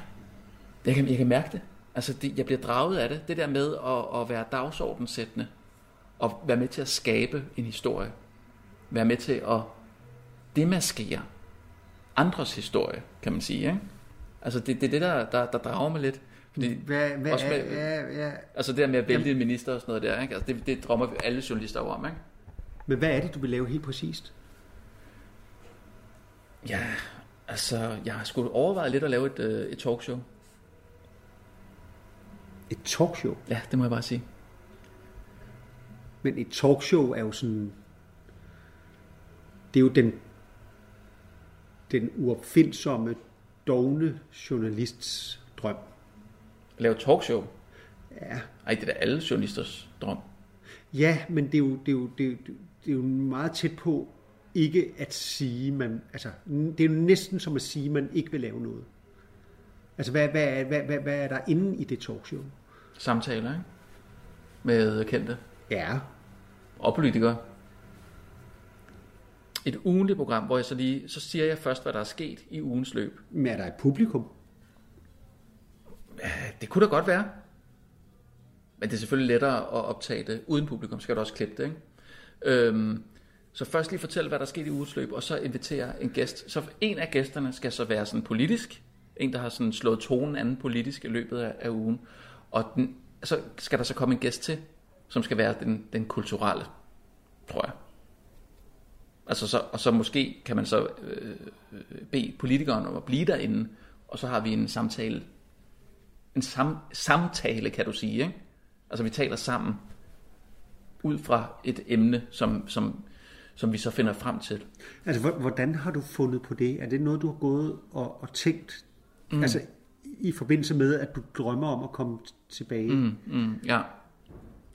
S1: jeg kan, jeg kan mærke det. Altså, det, jeg bliver draget af det. Det der med at, at være dagsordensættende, og være med til at skabe en historie. Være med til at demaskere andres historie, kan man sige. Ikke? Altså, det, det er det, der, der, der drager mig lidt. Fordi
S10: Hvad, hvad
S1: også
S10: er,
S1: med,
S10: ja, ja.
S1: Altså det der med at vælte en minister og sådan noget der, ikke? Altså, det, det drømmer vi alle journalister over om, ikke?
S10: Men hvad er det, du vil lave helt præcist?
S1: Ja, altså, jeg har sgu overvejet lidt at lave et, øh, et talkshow.
S10: Et talkshow?
S1: Ja, det må jeg bare sige.
S10: Men et talkshow er jo sådan... Det er jo den, den uopfindsomme, dogne journalists drøm.
S1: Lave et talkshow?
S10: Ja.
S1: Ej, det er da alle journalisters drøm.
S10: Ja, men det er jo, det er jo, det er jo, det er jo meget tæt på ikke at sige, man... Altså, det er jo næsten som at sige, man ikke vil lave noget. Altså, hvad, hvad, er- hvad, hvad, hvad er der inde i det talkshow?
S1: Samtaler, ikke? Med kendte.
S10: Ja.
S1: Og politikere. Et ugenligt program, hvor jeg så lige, så siger jeg først, hvad der er sket i ugens løb.
S10: Men er der et publikum?
S1: Det kunne da godt være. Men det er selvfølgelig lettere at optage det uden publikum. Så Skal du også klippe det, ikke? Øhm, så først lige fortælle, hvad der er sket i ugens løb, og så invitere en gæst. Så en af gæsterne skal så være sådan politisk, En, der har sådan slået tonen anden politisk i løbet af, af ugen. Og den, så skal der så komme en gæst til, som skal være den, den kulturelle, tror jeg. Altså så, og så måske kan man så øh, bede politikeren om at blive derinde, og så har vi en samtale. En sam, samtale, kan du sige. Ikke? Altså vi taler sammen ud fra et emne, som, som, som vi så finder frem til.
S10: Altså, hvor- hvordan har du fundet på det? Er det noget, du har gået og, og tænkt?
S1: Mm.
S10: Mm. Altså, i forbindelse med, at du drømmer om at komme t- tilbage?
S1: Mm, mm, ja.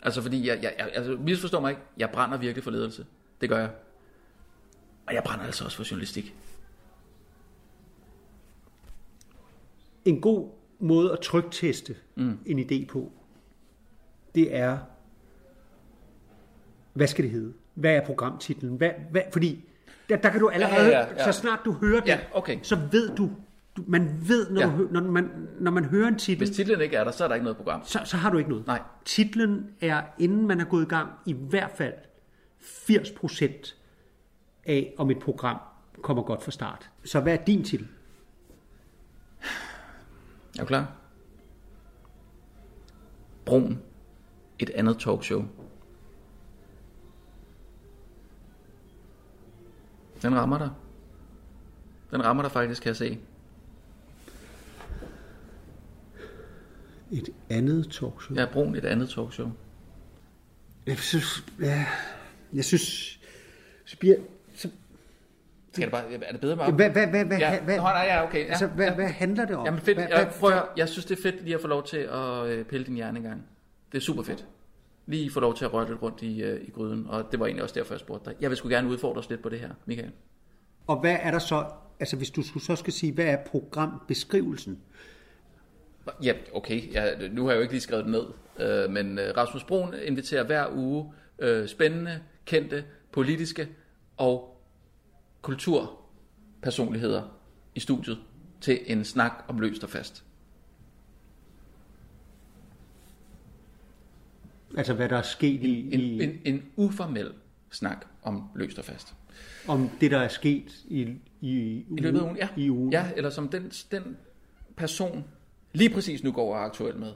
S1: Altså fordi, jeg, jeg, jeg altså, misforstår mig ikke, jeg brænder virkelig for ledelse. Det gør jeg. Og jeg brænder altså også for journalistik.
S10: En god måde at trygteste mm. en idé på, det er, hvad skal det hedde? Hvad er programtitlen? Hvad, hvad, fordi der, der kan du allerede, ja, ja, ja. så snart du hører det, ja,
S1: okay.
S10: så ved du, du, man ved, når,
S1: Ja.
S10: ja. du, hø- når, man, når man hører en titel,
S1: Hvis titlen ikke er der, så er der ikke noget program.
S10: så, så har du ikke noget.
S1: Nej.
S10: Titlen er, inden man er gået i gang, i hvert fald 80% af, om et program kommer godt fra start. Så hvad er din titel?
S1: Er du klar? Broen. Et andet talkshow. Den rammer dig. Den rammer dig faktisk, kan jeg se.
S10: Et andet talkshow?
S1: Ja, Broen. Et andet talkshow.
S10: Jeg synes... Ja, jeg synes... Så bliver, så,
S1: Skal det bare, er det bedre bare?
S10: hvad, hvad, hvad, hvad,
S1: ja.
S10: hvad,
S1: Nå, nej, ja, okay. Ja.
S10: Altså, hvad, hvad handler det om?
S1: Jamen fedt.
S10: Hvad,
S1: Jeg, prøv at, høre. jeg synes, det er fedt lige at få lov til at øh, pille din hjerne en gang. Det er super fedt. Lige få lov til at røre lidt rundt i, øh, i gryden. Og det var egentlig også derfor, jeg spurgte dig. Jeg vil sgu gerne udfordre os lidt på det her, Michael.
S10: Og hvad er der så... Altså, hvis du skulle- så skal sige, hvad er programbeskrivelsen?
S1: Ja, okay. Jeg, nu har jeg jo ikke lige skrevet det ned. Øh, men øh, Rasmus Broen inviterer hver uge øh, spændende, kendte, politiske og kulturpersonligheder i studiet til en snak om løst og fast.
S10: Altså, hvad der er sket i... i
S1: En, en uformel snak om løst og fast.
S10: om det, der er sket i, i, i,
S1: I løbet af ugen, ja.
S10: I ugen.
S1: Ja, eller som den, den person lige præcis nu går og er aktuel med.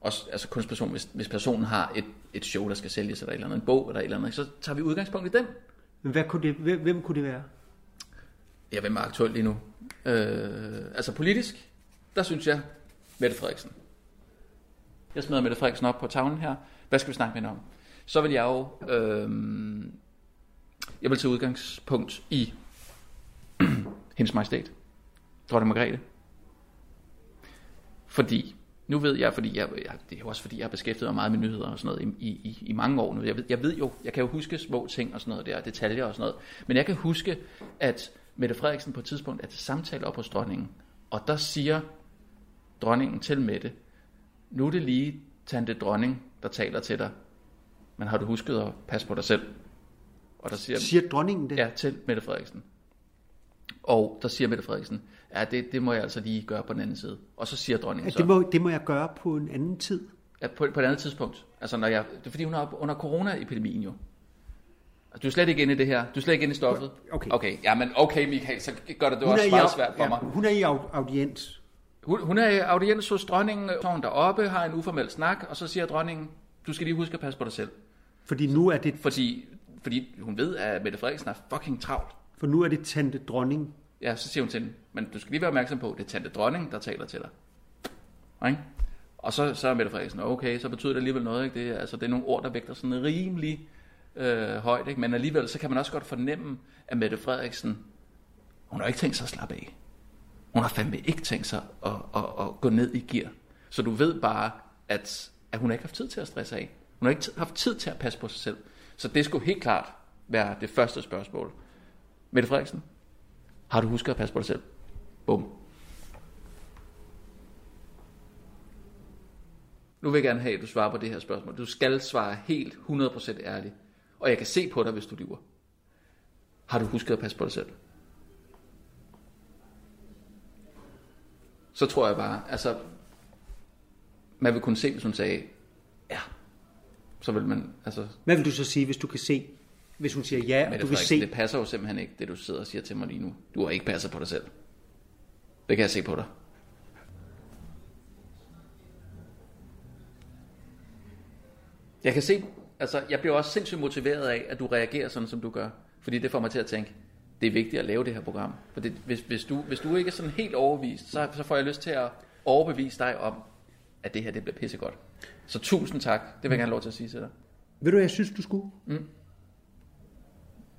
S1: Også, altså kunstperson, hvis, hvis personen har et, et show, der skal sælges, eller, et eller andet, en bog, eller et eller andet, så tager vi udgangspunkt i den.
S10: Men hvad kunne det, hvem, hvem kunne det være?
S1: Ja, hvem er aktuel lige nu? Øh, altså politisk, der synes jeg, Mette Frederiksen. Jeg smider Mette Frederiksen op på tavlen her. Hvad skal vi snakke med hende om? Så vil jeg jo... Øh, jeg vil tage udgangspunkt i hendes majestæt, dronning Margrethe. Fordi, nu ved jeg, fordi jeg, jeg, det er jo også fordi, jeg har beskæftiget mig meget med nyheder og sådan noget i, i, i- i mange år nu. Jeg ved, jeg ved jo, jeg kan jo huske små ting og sådan noget der, detaljer og sådan noget. Men jeg kan huske, at Mette Frederiksen på et tidspunkt er til samtale op hos dronningen. Og der siger dronningen til Mette, nu er det lige tante dronning, der taler til dig. Men har du husket at passe på dig selv? Og der siger,
S10: Siger dronningen det?
S1: Ja, til Mette Frederiksen. Og der siger Mette Frederiksen, ja, det, det må jeg altså lige gøre på den anden side. Og så siger dronningen
S10: Altså,
S1: så,
S10: det, må, det må jeg gøre på en anden tid.
S1: ja, på, på et andet tidspunkt. Altså, når jeg, det er fordi, hun er op- under coronaepidemien jo. Altså, Du er slet ikke inde i det her. Du er slet ikke inde i stoffet. Okay. Okay, ja, men okay, Michael, så gør det det også
S10: i
S1: meget
S10: au-
S1: svært for
S10: ja,
S1: mig.
S10: Hun er i au- audiens.
S1: Hun, hun er i audiens hos dronningen, så er hun deroppe, har en uformel snak, og så siger dronningen, du skal lige huske at passe på dig selv.
S10: Fordi nu er det,
S1: Fordi, fordi hun ved, at Mette Frederiksen er fucking travlt.
S10: for nu er det tante dronning.
S1: Ja, så siger hun til hende, men du skal lige være opmærksom på, det er tante dronning, der taler til dig. Ikke? Og så, så er Mette Frederiksen, okay, så betyder det alligevel noget. Ikke? Det, er, altså, det er nogle ord, der vægter sådan rimelig øh, højt. Ikke? Men alligevel, så kan man også godt fornemme, at Mette Frederiksen, hun har ikke tænkt sig at slappe af. Hun har fandme ikke tænkt sig at, at, at, at gå ned i gear. Så du ved bare, at, at hun har ikke haft tid til at stresse af. Hun har ikke t- haft tid til at passe på sig selv. Så det skulle helt klart være det første spørgsmål. Mette Frederiksen, har du husket at passe på dig selv? Bum. Nu vil jeg gerne have, at du svarer på det her spørgsmål. Du skal svare helt 100% ærligt. Og jeg kan se på dig, hvis du lyver. Har du husket at passe på dig selv? Så tror jeg bare, altså... Man vil kunne se, hvis hun sagde, ja. Så vil man, altså...
S10: Hvad vil du så sige, hvis du kan se, hvis hun siger ja, og
S1: Mette
S10: du kan
S1: Frederiksen,
S10: se...
S1: det passer jo simpelthen ikke, det du sidder og siger til mig lige nu. Du har ikke passet på dig selv. Det kan jeg se på dig. Jeg kan se, altså jeg bliver også sindssygt motiveret af, at du reagerer sådan, som du gør. Fordi det får mig til at tænke, det er vigtigt at lave det her program. For det, hvis, hvis, du, hvis du ikke er sådan helt overbevist, så, så får jeg lyst til at overbevise dig om, at det her det bliver pissegodt. Så tusind tak. Det vil jeg gerne have lov til at sige til dig.
S10: Ved du, hvad jeg synes, du skulle?
S1: Mm.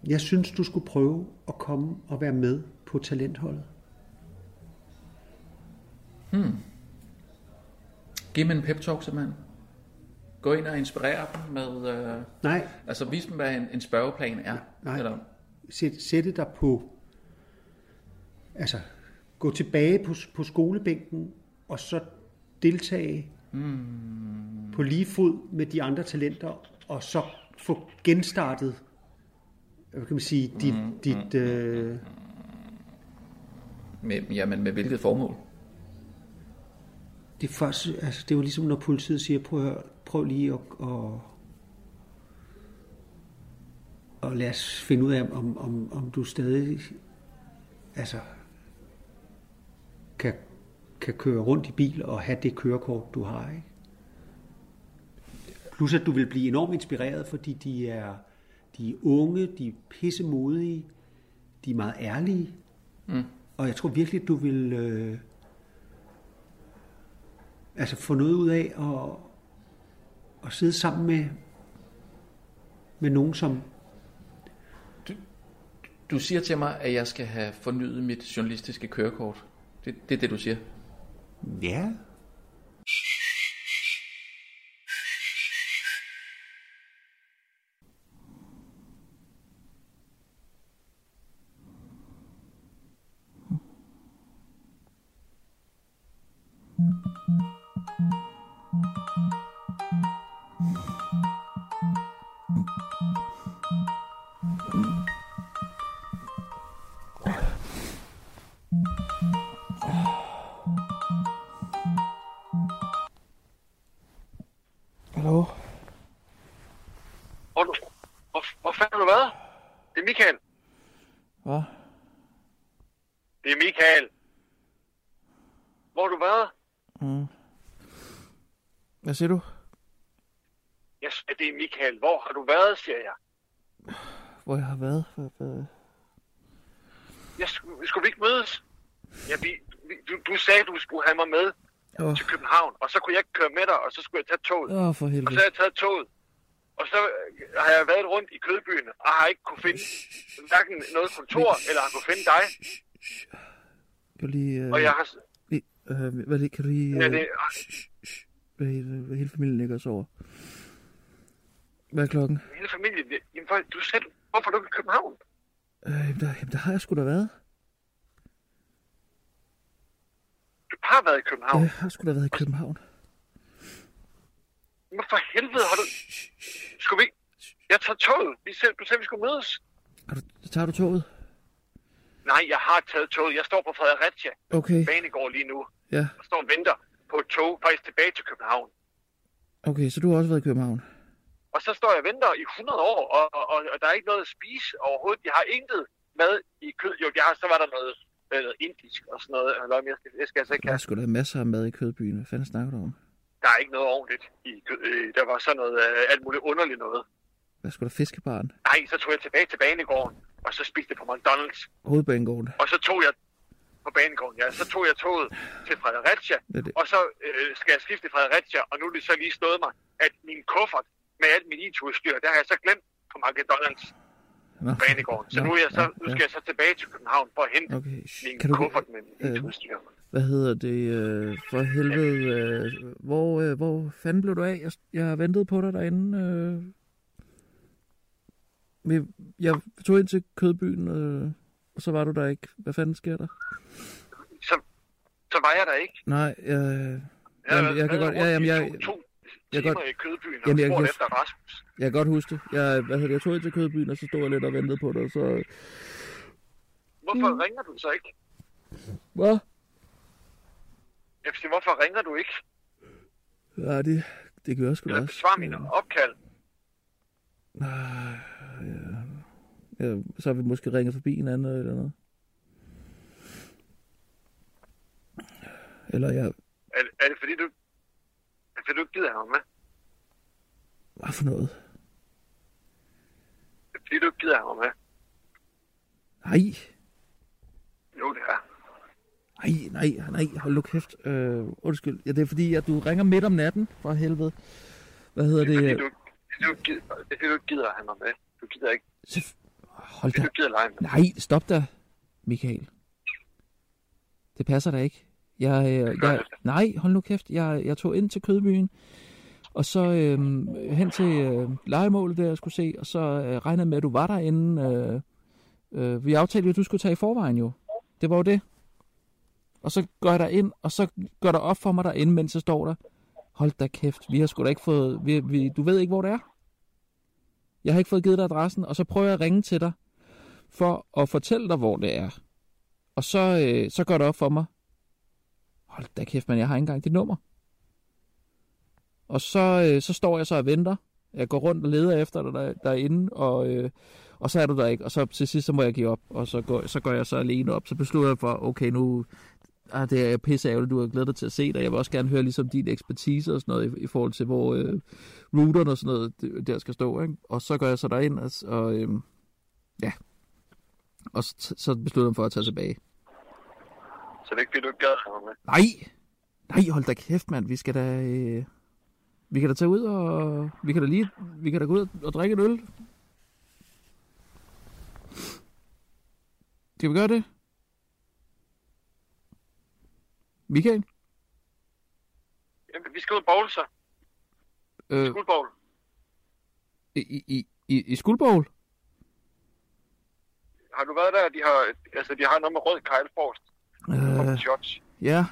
S10: Jeg synes, du skulle prøve at komme og være med på talentholdet.
S1: Hmm. Giv dem en pep talk, simpelthen. Gå ind og inspirere dem med... Øh,
S10: Nej.
S1: Altså vis dem, hvad en, en spørgeplan er.
S10: Nej. Sæt, sætte dig på... Altså, gå tilbage på, på skolebænken, og så deltage
S1: Mm.
S10: på lige fod med de andre talenter, og så få genstartet, hvad kan man sige, dit... Mm, dit øh,
S1: Med, jamen, med hvilket formål?
S10: det, er først, altså, det er jo ligesom, når politiet siger, prøv, at høre, prøv lige at, at, og lad os finde ud af, om, om, om du stadig altså, kan, kan køre rundt i bil og have det kørekort, du har. Ikke? Plus at du vil blive enormt inspireret, fordi de er, de er unge, de er pissemodige, de er meget ærlige.
S1: Mm.
S10: Og jeg tror virkelig, du vil øh, altså få noget ud af at, at sidde sammen med, med nogen, som
S1: Du siger til mig, at jeg skal have fornyet mit journalistiske kørekort. Det, det er det, du siger.
S10: Ja.
S12: Hallo?
S13: Hvor, du, hvor, hvor fanden har du været? Det er Michael.
S12: Hvad?
S13: Det er Michael. Hvor har du været?
S12: Mm. Hvad siger du?
S13: Jeg sagde, det er Michael. Hvor har du været, siger jeg.
S12: Hvor jeg har været? Hvad- hvad-
S13: jeg skulle, skulle vi ikke mødes? Ja, vi, vi, du, du sagde, du skulle have mig med
S12: Åh.
S13: til København, og så kunne jeg ikke køre med dig, og så skulle jeg tage toget.
S12: Åh, for helvede.
S13: Og så har jeg taget toget. Og så øh, har jeg været rundt i Kødbyen, og har ikke kunne finde hverken noget kontor, eller har kunne finde dig.
S12: Kan du lige... Øh,
S13: Og jeg har-
S12: Lige, øh, hvad lige, kan du lige... Øh,
S13: Ja, det-
S12: hvad, hele, hvad hele familien ligger og sover. Hvad er klokken?
S13: Hele familien, det- jamen, for- du sagde, hvorfor er du ikke i København?
S12: Øh, jamen, der, jamen, der har jeg sgu da været.
S13: Du har været i København.
S12: Jeg har sgu da været i København.
S13: Men for helvede har du... Skulle vi ikke... Jeg tager toget. Vi selv, du sagde, vi skulle mødes.
S12: Så tager du toget?
S13: Nej, jeg har taget toget. Jeg står på Fredericia.
S12: Okay.
S13: Banegård lige nu.
S12: Ja.
S13: Og står og venter på et tog, faktisk tilbage til København.
S12: Okay, så du har også været i København.
S13: Og så står jeg og venter i 100 år, og, og, og, og der er ikke noget at spise overhovedet. Jeg har intet mad i kød. Jo, jeg har, så var der noget, øh, noget indisk og sådan noget. Halløj, men Jeg skal, jeg skal altså ikke
S12: Der er
S13: have.
S12: sgu da masser af mad i Kødbyen. Hvad fanden snakker du om?
S13: Der er ikke noget ordentligt i kød. Øh, Der var sådan noget øh, alt muligt underligt noget.
S12: Der er sgu da fiskebaren.
S13: Nej, så tog jeg tilbage til Banegården, og så spiste jeg på McDonald's.
S12: Hovedbanegården.
S13: Og så tog jeg på banegården, ja. Så tog jeg toget til Fredericia,
S12: Hvad er det?
S13: og så øh, skal jeg skifte til Fredericia, og nu er det så lige stået mig, at min kuffert med alt mit IT-udstyr, der har jeg så glemt på McDonald's
S12: Nå.
S13: på banegården. Så
S12: Nå,
S13: nu, er jeg så,
S12: ja,
S13: nu
S12: ja.
S13: skal jeg så tilbage til København for at hente
S12: Okay,
S13: min
S12: kan du-
S13: kuffert med mit
S12: øh,
S13: IT-udstyr.
S12: Hvad hedder det? Øh, for helvede. Øh, hvor, øh, hvor fanden blev du af? Jeg, jeg har ventet på dig derinde. Øh. Vi- Jeg tog ind til Kødbyen, øh, og så var du der ikke. Hvad fanden sker der?
S13: Så, så var jeg der ikke.
S12: Nej, øh, jeg,
S13: har
S12: jeg, jeg
S13: været
S12: kan godt...
S13: rundt
S12: Ja, jamen,
S13: i
S12: jeg,
S13: to- to
S12: jeg
S13: timer
S12: godt,
S13: i Kødbyen og
S12: jamen, jeg,
S13: spurgt
S12: jeg,
S13: efter Rasmus.
S12: jeg kan godt huske det. Jeg, hvad hedder, det, jeg tog ind til Kødbyen, og så stod jeg lidt og ventede på dig, og så...
S13: Hvorfor
S12: Mm.
S13: ringer du så ikke?
S12: Hvad?
S13: Jeg siger, hvorfor ringer du ikke?
S12: Ja, det, det gør jeg sgu da
S13: Eller
S12: også. Øh,
S13: besvar mine opkald.
S12: Ah, ja. Ja, så har vi måske ringet forbi hinanden eller noget.
S1: Eller jeg...
S13: Er, er det fordi, du, er det, fordi du ikke gider have ham med?
S1: Hvad for noget?
S13: Er det fordi, du ikke gider have ham med?
S1: Nej,
S13: Jo, det er.
S1: nej, nej, nej, hold nu kæft. Øh, undskyld. Ja, det er fordi, at du ringer midt om natten, for helvede. Hvad hedder det?
S13: Fordi du, fordi du, ikke gider, det er fordi, du ikke gider have mig med. Du gider ikke.
S1: Hold
S13: fordi
S1: da.
S13: du gider lege med.
S1: Nej, stop da, Michael. Det passer da ikke. Jeg, øh, jeg, nej, hold nu kæft. Jeg, jeg tog ind til Kødbyen, og så øh, hen til øh, legemålet, der jeg skulle se, og så øh, regnede jeg med, at du var derinde. Øh, øh, vi aftalte, jo, at du skulle tage i forvejen jo. Det var jo det. Og så går jeg derind, og så går der op for mig derinde, mens jeg står der. Hold da kæft, vi har sgu da ikke fået... Vi, vi, du ved ikke, hvor det er. Jeg har ikke fået givet dig adressen, og så prøver jeg at ringe til dig for at fortælle dig, hvor det er. Og så, øh, så går det op for mig. Hold da kæft, men jeg har ikke engang dit nummer. Og så, øh, så står jeg så og venter. Jeg går rundt og leder efter dig der, derinde, og, øh, og så er du der ikke. Og så til sidst, så må jeg give op, og så går, så går jeg så alene op. Så beslutter jeg for, okay, nu ah, det er jeg pisse ærgerligt, du har glædet dig til at se dig. Jeg vil også gerne høre ligesom din ekspertise og sådan noget, i, i forhold til, hvor øh, routeren og sådan noget det- der skal stå. Ikke? Og så går jeg så derind, og, s- og øh, ja, og så, så besluttede han for at tage tilbage.
S13: Så det er ikke fordi, du ikke gider have mig med.
S1: Nej! Nej, hold da kæft, mand. Vi skal da... Øh, vi kan da tage ud og... Vi kan da lige... Vi kan da gå ud og drikke en øl. Skal vi gøre det? Michael?
S13: Jamen, vi skal ud og bowl, så.
S1: Øh,
S13: Skuldbowl.
S1: i, i, i- i, I Skuldborg?
S13: Har du været der? De har, altså, de har noget med rød kejlforst.
S1: Øh,
S13: Shots.
S1: ja.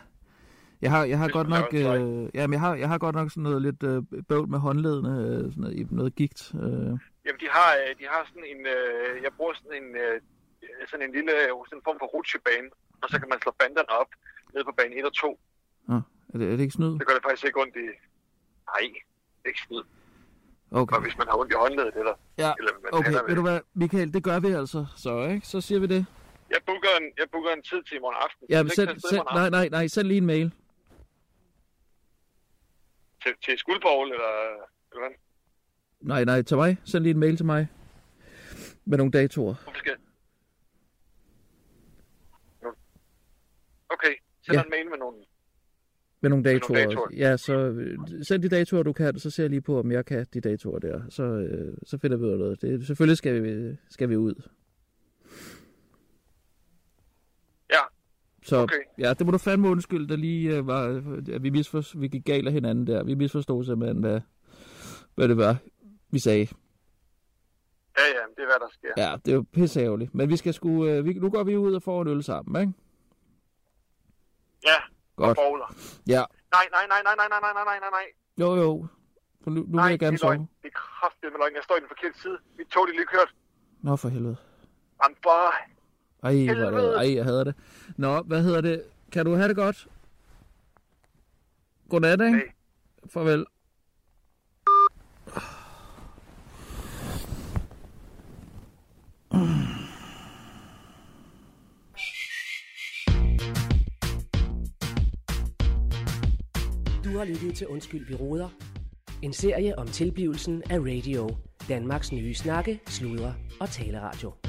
S1: Jeg har, jeg har godt
S13: man
S1: nok... Øh, jamen, jeg har, jeg har godt nok sådan noget lidt øh, bøvl med håndledene. Øh, sådan noget, noget gigt. Øh.
S13: Jamen, de har, øh, de har sådan en... Øh, jeg bruger sådan en, øh, sådan en lille... øh, Sådan en form for rutsjebane. Og så kan man slå banderne op nede på bane 1 og 2.
S1: Nå, er, det, er det ikke snyd?
S13: Det gør det faktisk ikke ondt i... Nej, ikke snyd.
S1: Okay.
S13: Og hvis man har ondt i håndledet, eller...
S1: Ja,
S13: eller man
S1: okay,
S13: hænder
S1: ved du hvad, Michael, det gør vi altså, så, ikke? Så siger vi det.
S13: Jeg booker, en, jeg booker en tid til i morgen aften.
S1: Ja,
S13: Skal
S1: men
S13: vi ikke tage
S1: send,
S13: afsted i
S1: send,
S13: morgen
S1: nej,
S13: aften?
S1: nej, nej, send lige en mail.
S13: Til, til Skuldborg, eller... eller hvad?
S1: Nej, nej, til mig. Send lige en mail til mig. Med nogle datoer.
S13: Hvorfor skal Okay, send
S1: Ja.
S13: ja. en mail med nogle...
S1: Med nogle
S13: Med nogle
S1: datoer.
S13: datoer.
S1: Ja, så øh, send de datoer, du kan, så ser jeg lige på, om jeg kan de datoer der. Så, øh, så finder vi ud af noget. Det, selvfølgelig skal vi, skal vi ud.
S13: Ja,
S1: Så okay. ja, det må du fandme undskylde, der lige øh, var, at vi, misforstod, vi gik galt af hinanden der. Vi misforstod simpelthen, hvad, hvad det var, vi sagde.
S13: Ja, ja, men det er hvad der sker.
S1: Ja, det er jo pisseærgerligt. Men vi skal sgu, øh, vi, nu går vi ud og får en øl sammen, ikke?
S13: ja
S1: Godt.
S13: og bowler.
S1: Ja.
S13: Nej, nej, nej, nej, nej, nej, nej, nej, nej, nej, nej.
S1: Jo, jo. For nu, nu vil jeg
S13: det
S1: gerne
S13: er løgn.
S1: sove.
S13: Det er kraftigt med løgn. Jeg står i den forkerte side. Mit tog, det er lige kørt.
S1: Nå, for helvede.
S13: I'm bare...
S1: Ej, hvor er det, ej, jeg hader det. Nå, hvad hedder det? Kan du have det godt? Godnat, ikke? Hey. Farvel.
S9: Du har lyttet til Undskyld, vi råder. En serie om tilblivelsen af radio. Danmarks nye snakke, sludre og taleradio.